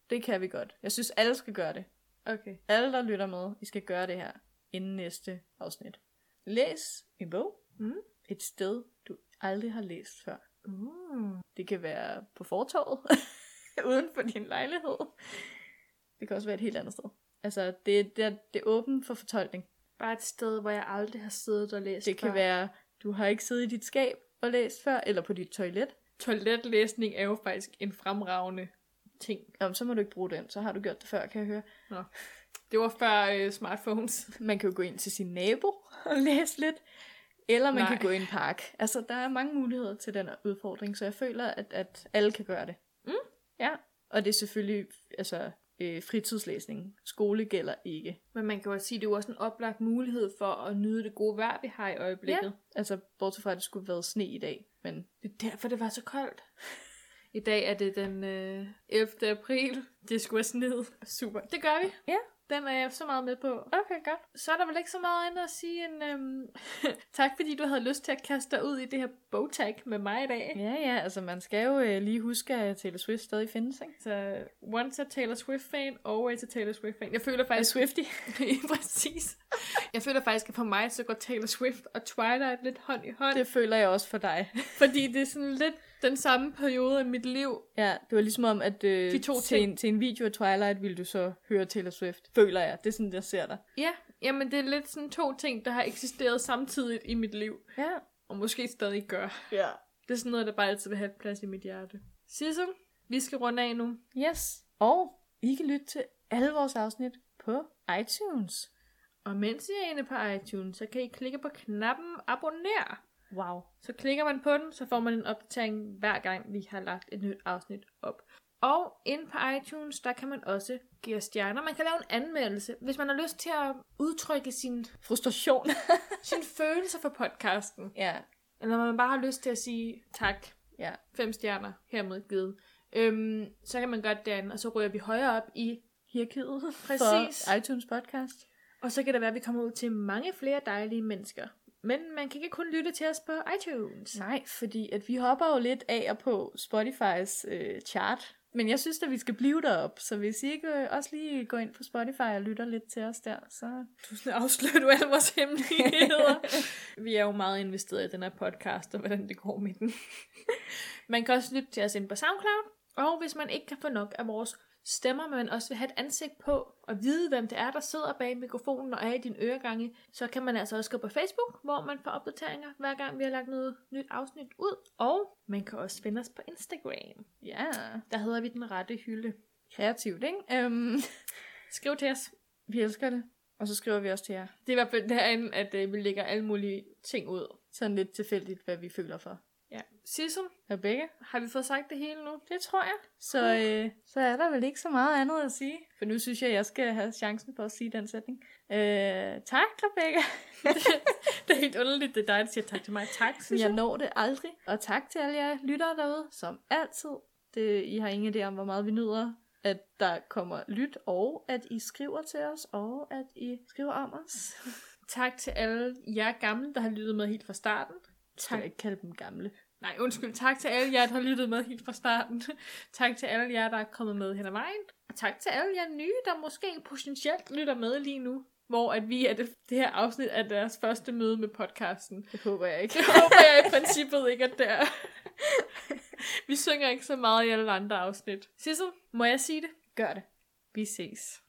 A: Det kan vi godt. Jeg synes, alle skal gøre det.
B: Okay.
A: Alle, der lytter med, I skal gøre det her inden næste afsnit. Læs en bog
B: Mhm.
A: et sted, du aldrig har læst før.
B: Uh.
A: Det kan være på fortorvet, uden for din lejlighed. Det kan også være et helt andet sted. Altså, det, det, er, det er åbent for fortolkning.
B: Bare et sted, hvor jeg aldrig har siddet og læst
A: Det kan
B: før.
A: være, du har ikke siddet i dit skab og læst før, eller på dit toilet.
B: Toiletlæsning er jo faktisk en fremragende ting.
A: Jamen, så må du ikke bruge den, så har du gjort det før, kan jeg høre.
B: Nå. Det var før øh, smartphones.
A: Man kan jo gå ind til sin nabo og læse lidt. Eller man
B: Nej.
A: kan gå i en park. Altså, der er mange muligheder til den udfordring, så jeg føler, at, at alle kan gøre det.
B: Mm.
A: Ja, og det er selvfølgelig altså, øh, fritidslæsning. Skole gælder ikke.
B: Men man kan jo også sige, at det er jo også en oplagt mulighed for at nyde det gode vejr, vi har i øjeblikket. Ja.
A: Altså, bortset fra, at det skulle have været sne i dag. Men
B: Det er derfor, det var så koldt. I dag er det den øh, 11. april. Det skulle være sned. Super. Det gør vi.
A: Ja.
B: Den er jeg så meget med på.
A: okay, godt.
B: Så er der vel ikke så meget andet at sige end øhm, tak, fordi du havde lyst til at kaste dig ud i det her bogtag med mig i dag.
A: Ja, ja, altså man skal jo øh, lige huske, at Taylor Swift stadig findes, ikke?
B: Så once a Taylor Swift-fan, always a Taylor Swift-fan. Jeg føler
A: Er
B: faktisk...
A: Swifty?
B: præcis. Jeg føler faktisk, at for mig, så går Taylor Swift og Twilight lidt hånd i hånd.
A: Det føler jeg også for dig.
B: Fordi det er sådan lidt den samme periode af mit liv.
A: Ja, det var ligesom om, at øh,
B: De to
A: til,
B: ting.
A: en, til en video af Twilight ville du så høre Taylor Swift. Føler jeg. Det er sådan, jeg ser dig.
B: Ja, jamen det er lidt sådan to ting, der har eksisteret samtidigt i mit liv.
A: Ja.
B: Og måske stadig gør.
A: Ja.
B: Det er sådan noget, der bare altid vil have plads i mit hjerte. Sissel, vi skal runde af nu.
A: Yes. Og I kan lytte til alle vores afsnit på iTunes.
B: Og mens I er inde på iTunes, så kan I klikke på knappen abonner.
A: Wow.
B: Så klikker man på den, så får man en opdatering hver gang, vi har lagt et nyt afsnit op. Og inde på iTunes, der kan man også give os stjerner. Man kan lave en anmeldelse, hvis man har lyst til at udtrykke sin,
A: Frustration.
B: sin følelser for podcasten.
A: ja.
B: Eller man bare har lyst til at sige tak,
A: Ja.
B: fem stjerner hermed givet. Øhm, så kan man gøre det derinde, og så ryger vi højere op i hierarkiet. Præcis.
A: For iTunes podcast.
B: Og så kan det være, at vi kommer ud til mange flere dejlige mennesker. Men man kan ikke kun lytte til os på iTunes.
A: Nej, fordi at vi hopper jo lidt af og på Spotify's øh, chart. Men jeg synes, at vi skal blive derop, så hvis I ikke øh, også lige går ind på Spotify og lytter lidt til os der, så...
B: Nu afslører du alle vores hemmeligheder. vi er jo meget investeret i den her podcast, og hvordan det går med den. man kan også lytte til os inde på SoundCloud. Og hvis man ikke kan få nok af vores
A: stemmer, man også vil have et ansigt på, og vide, hvem det er, der sidder bag mikrofonen og er i dine øregange, så kan man altså også gå på Facebook, hvor man får opdateringer, hver gang vi har lagt noget nyt afsnit ud. Og man kan også finde os på Instagram.
B: Ja,
A: Der hedder vi Den Rette Hylde.
B: kreativt, ikke? Øhm,
A: Skriv til os.
B: vi elsker det. Og så skriver vi også til jer.
A: Det er i hvert fald derinde, at øh, vi lægger alle mulige ting ud.
B: Sådan lidt tilfældigt, hvad vi føler for.
A: Ja. Sissel,
B: Rebecca?
A: har vi fået sagt det hele nu?
B: Det tror jeg. Så, øh, så er der vel ikke så meget andet at sige. For nu synes jeg, jeg skal have chancen for at sige den sætning. Øh, tak, Rebecca.
A: det er helt underligt, det er dig, der siger tak til mig. Tak,
B: Men
A: synes
B: jeg når det aldrig. Og tak til alle jer lyttere derude, som altid. Det, I har ingen idé om, hvor meget vi nyder, at der kommer lyt, og at I skriver til os, og at I skriver om os.
A: Tak til alle jer gamle, der har lyttet med helt fra starten.
B: Skal
A: Tak.
B: jeg ikke kalde dem gamle?
A: Nej, undskyld. Tak til alle jer, der har lyttet med helt fra starten. tak til alle jer, der er kommet med hen ad vejen. Og tak til alle jer nye, der måske potentielt lytter med lige nu. Hvor at vi er det, det her afsnit af deres første møde med podcasten.
B: Det håber jeg ikke.
A: Det håber jeg i princippet ikke, at det er. Vi synger ikke så meget i alle andre afsnit. Sissel, må jeg sige det?
B: Gør det.
A: Vi ses.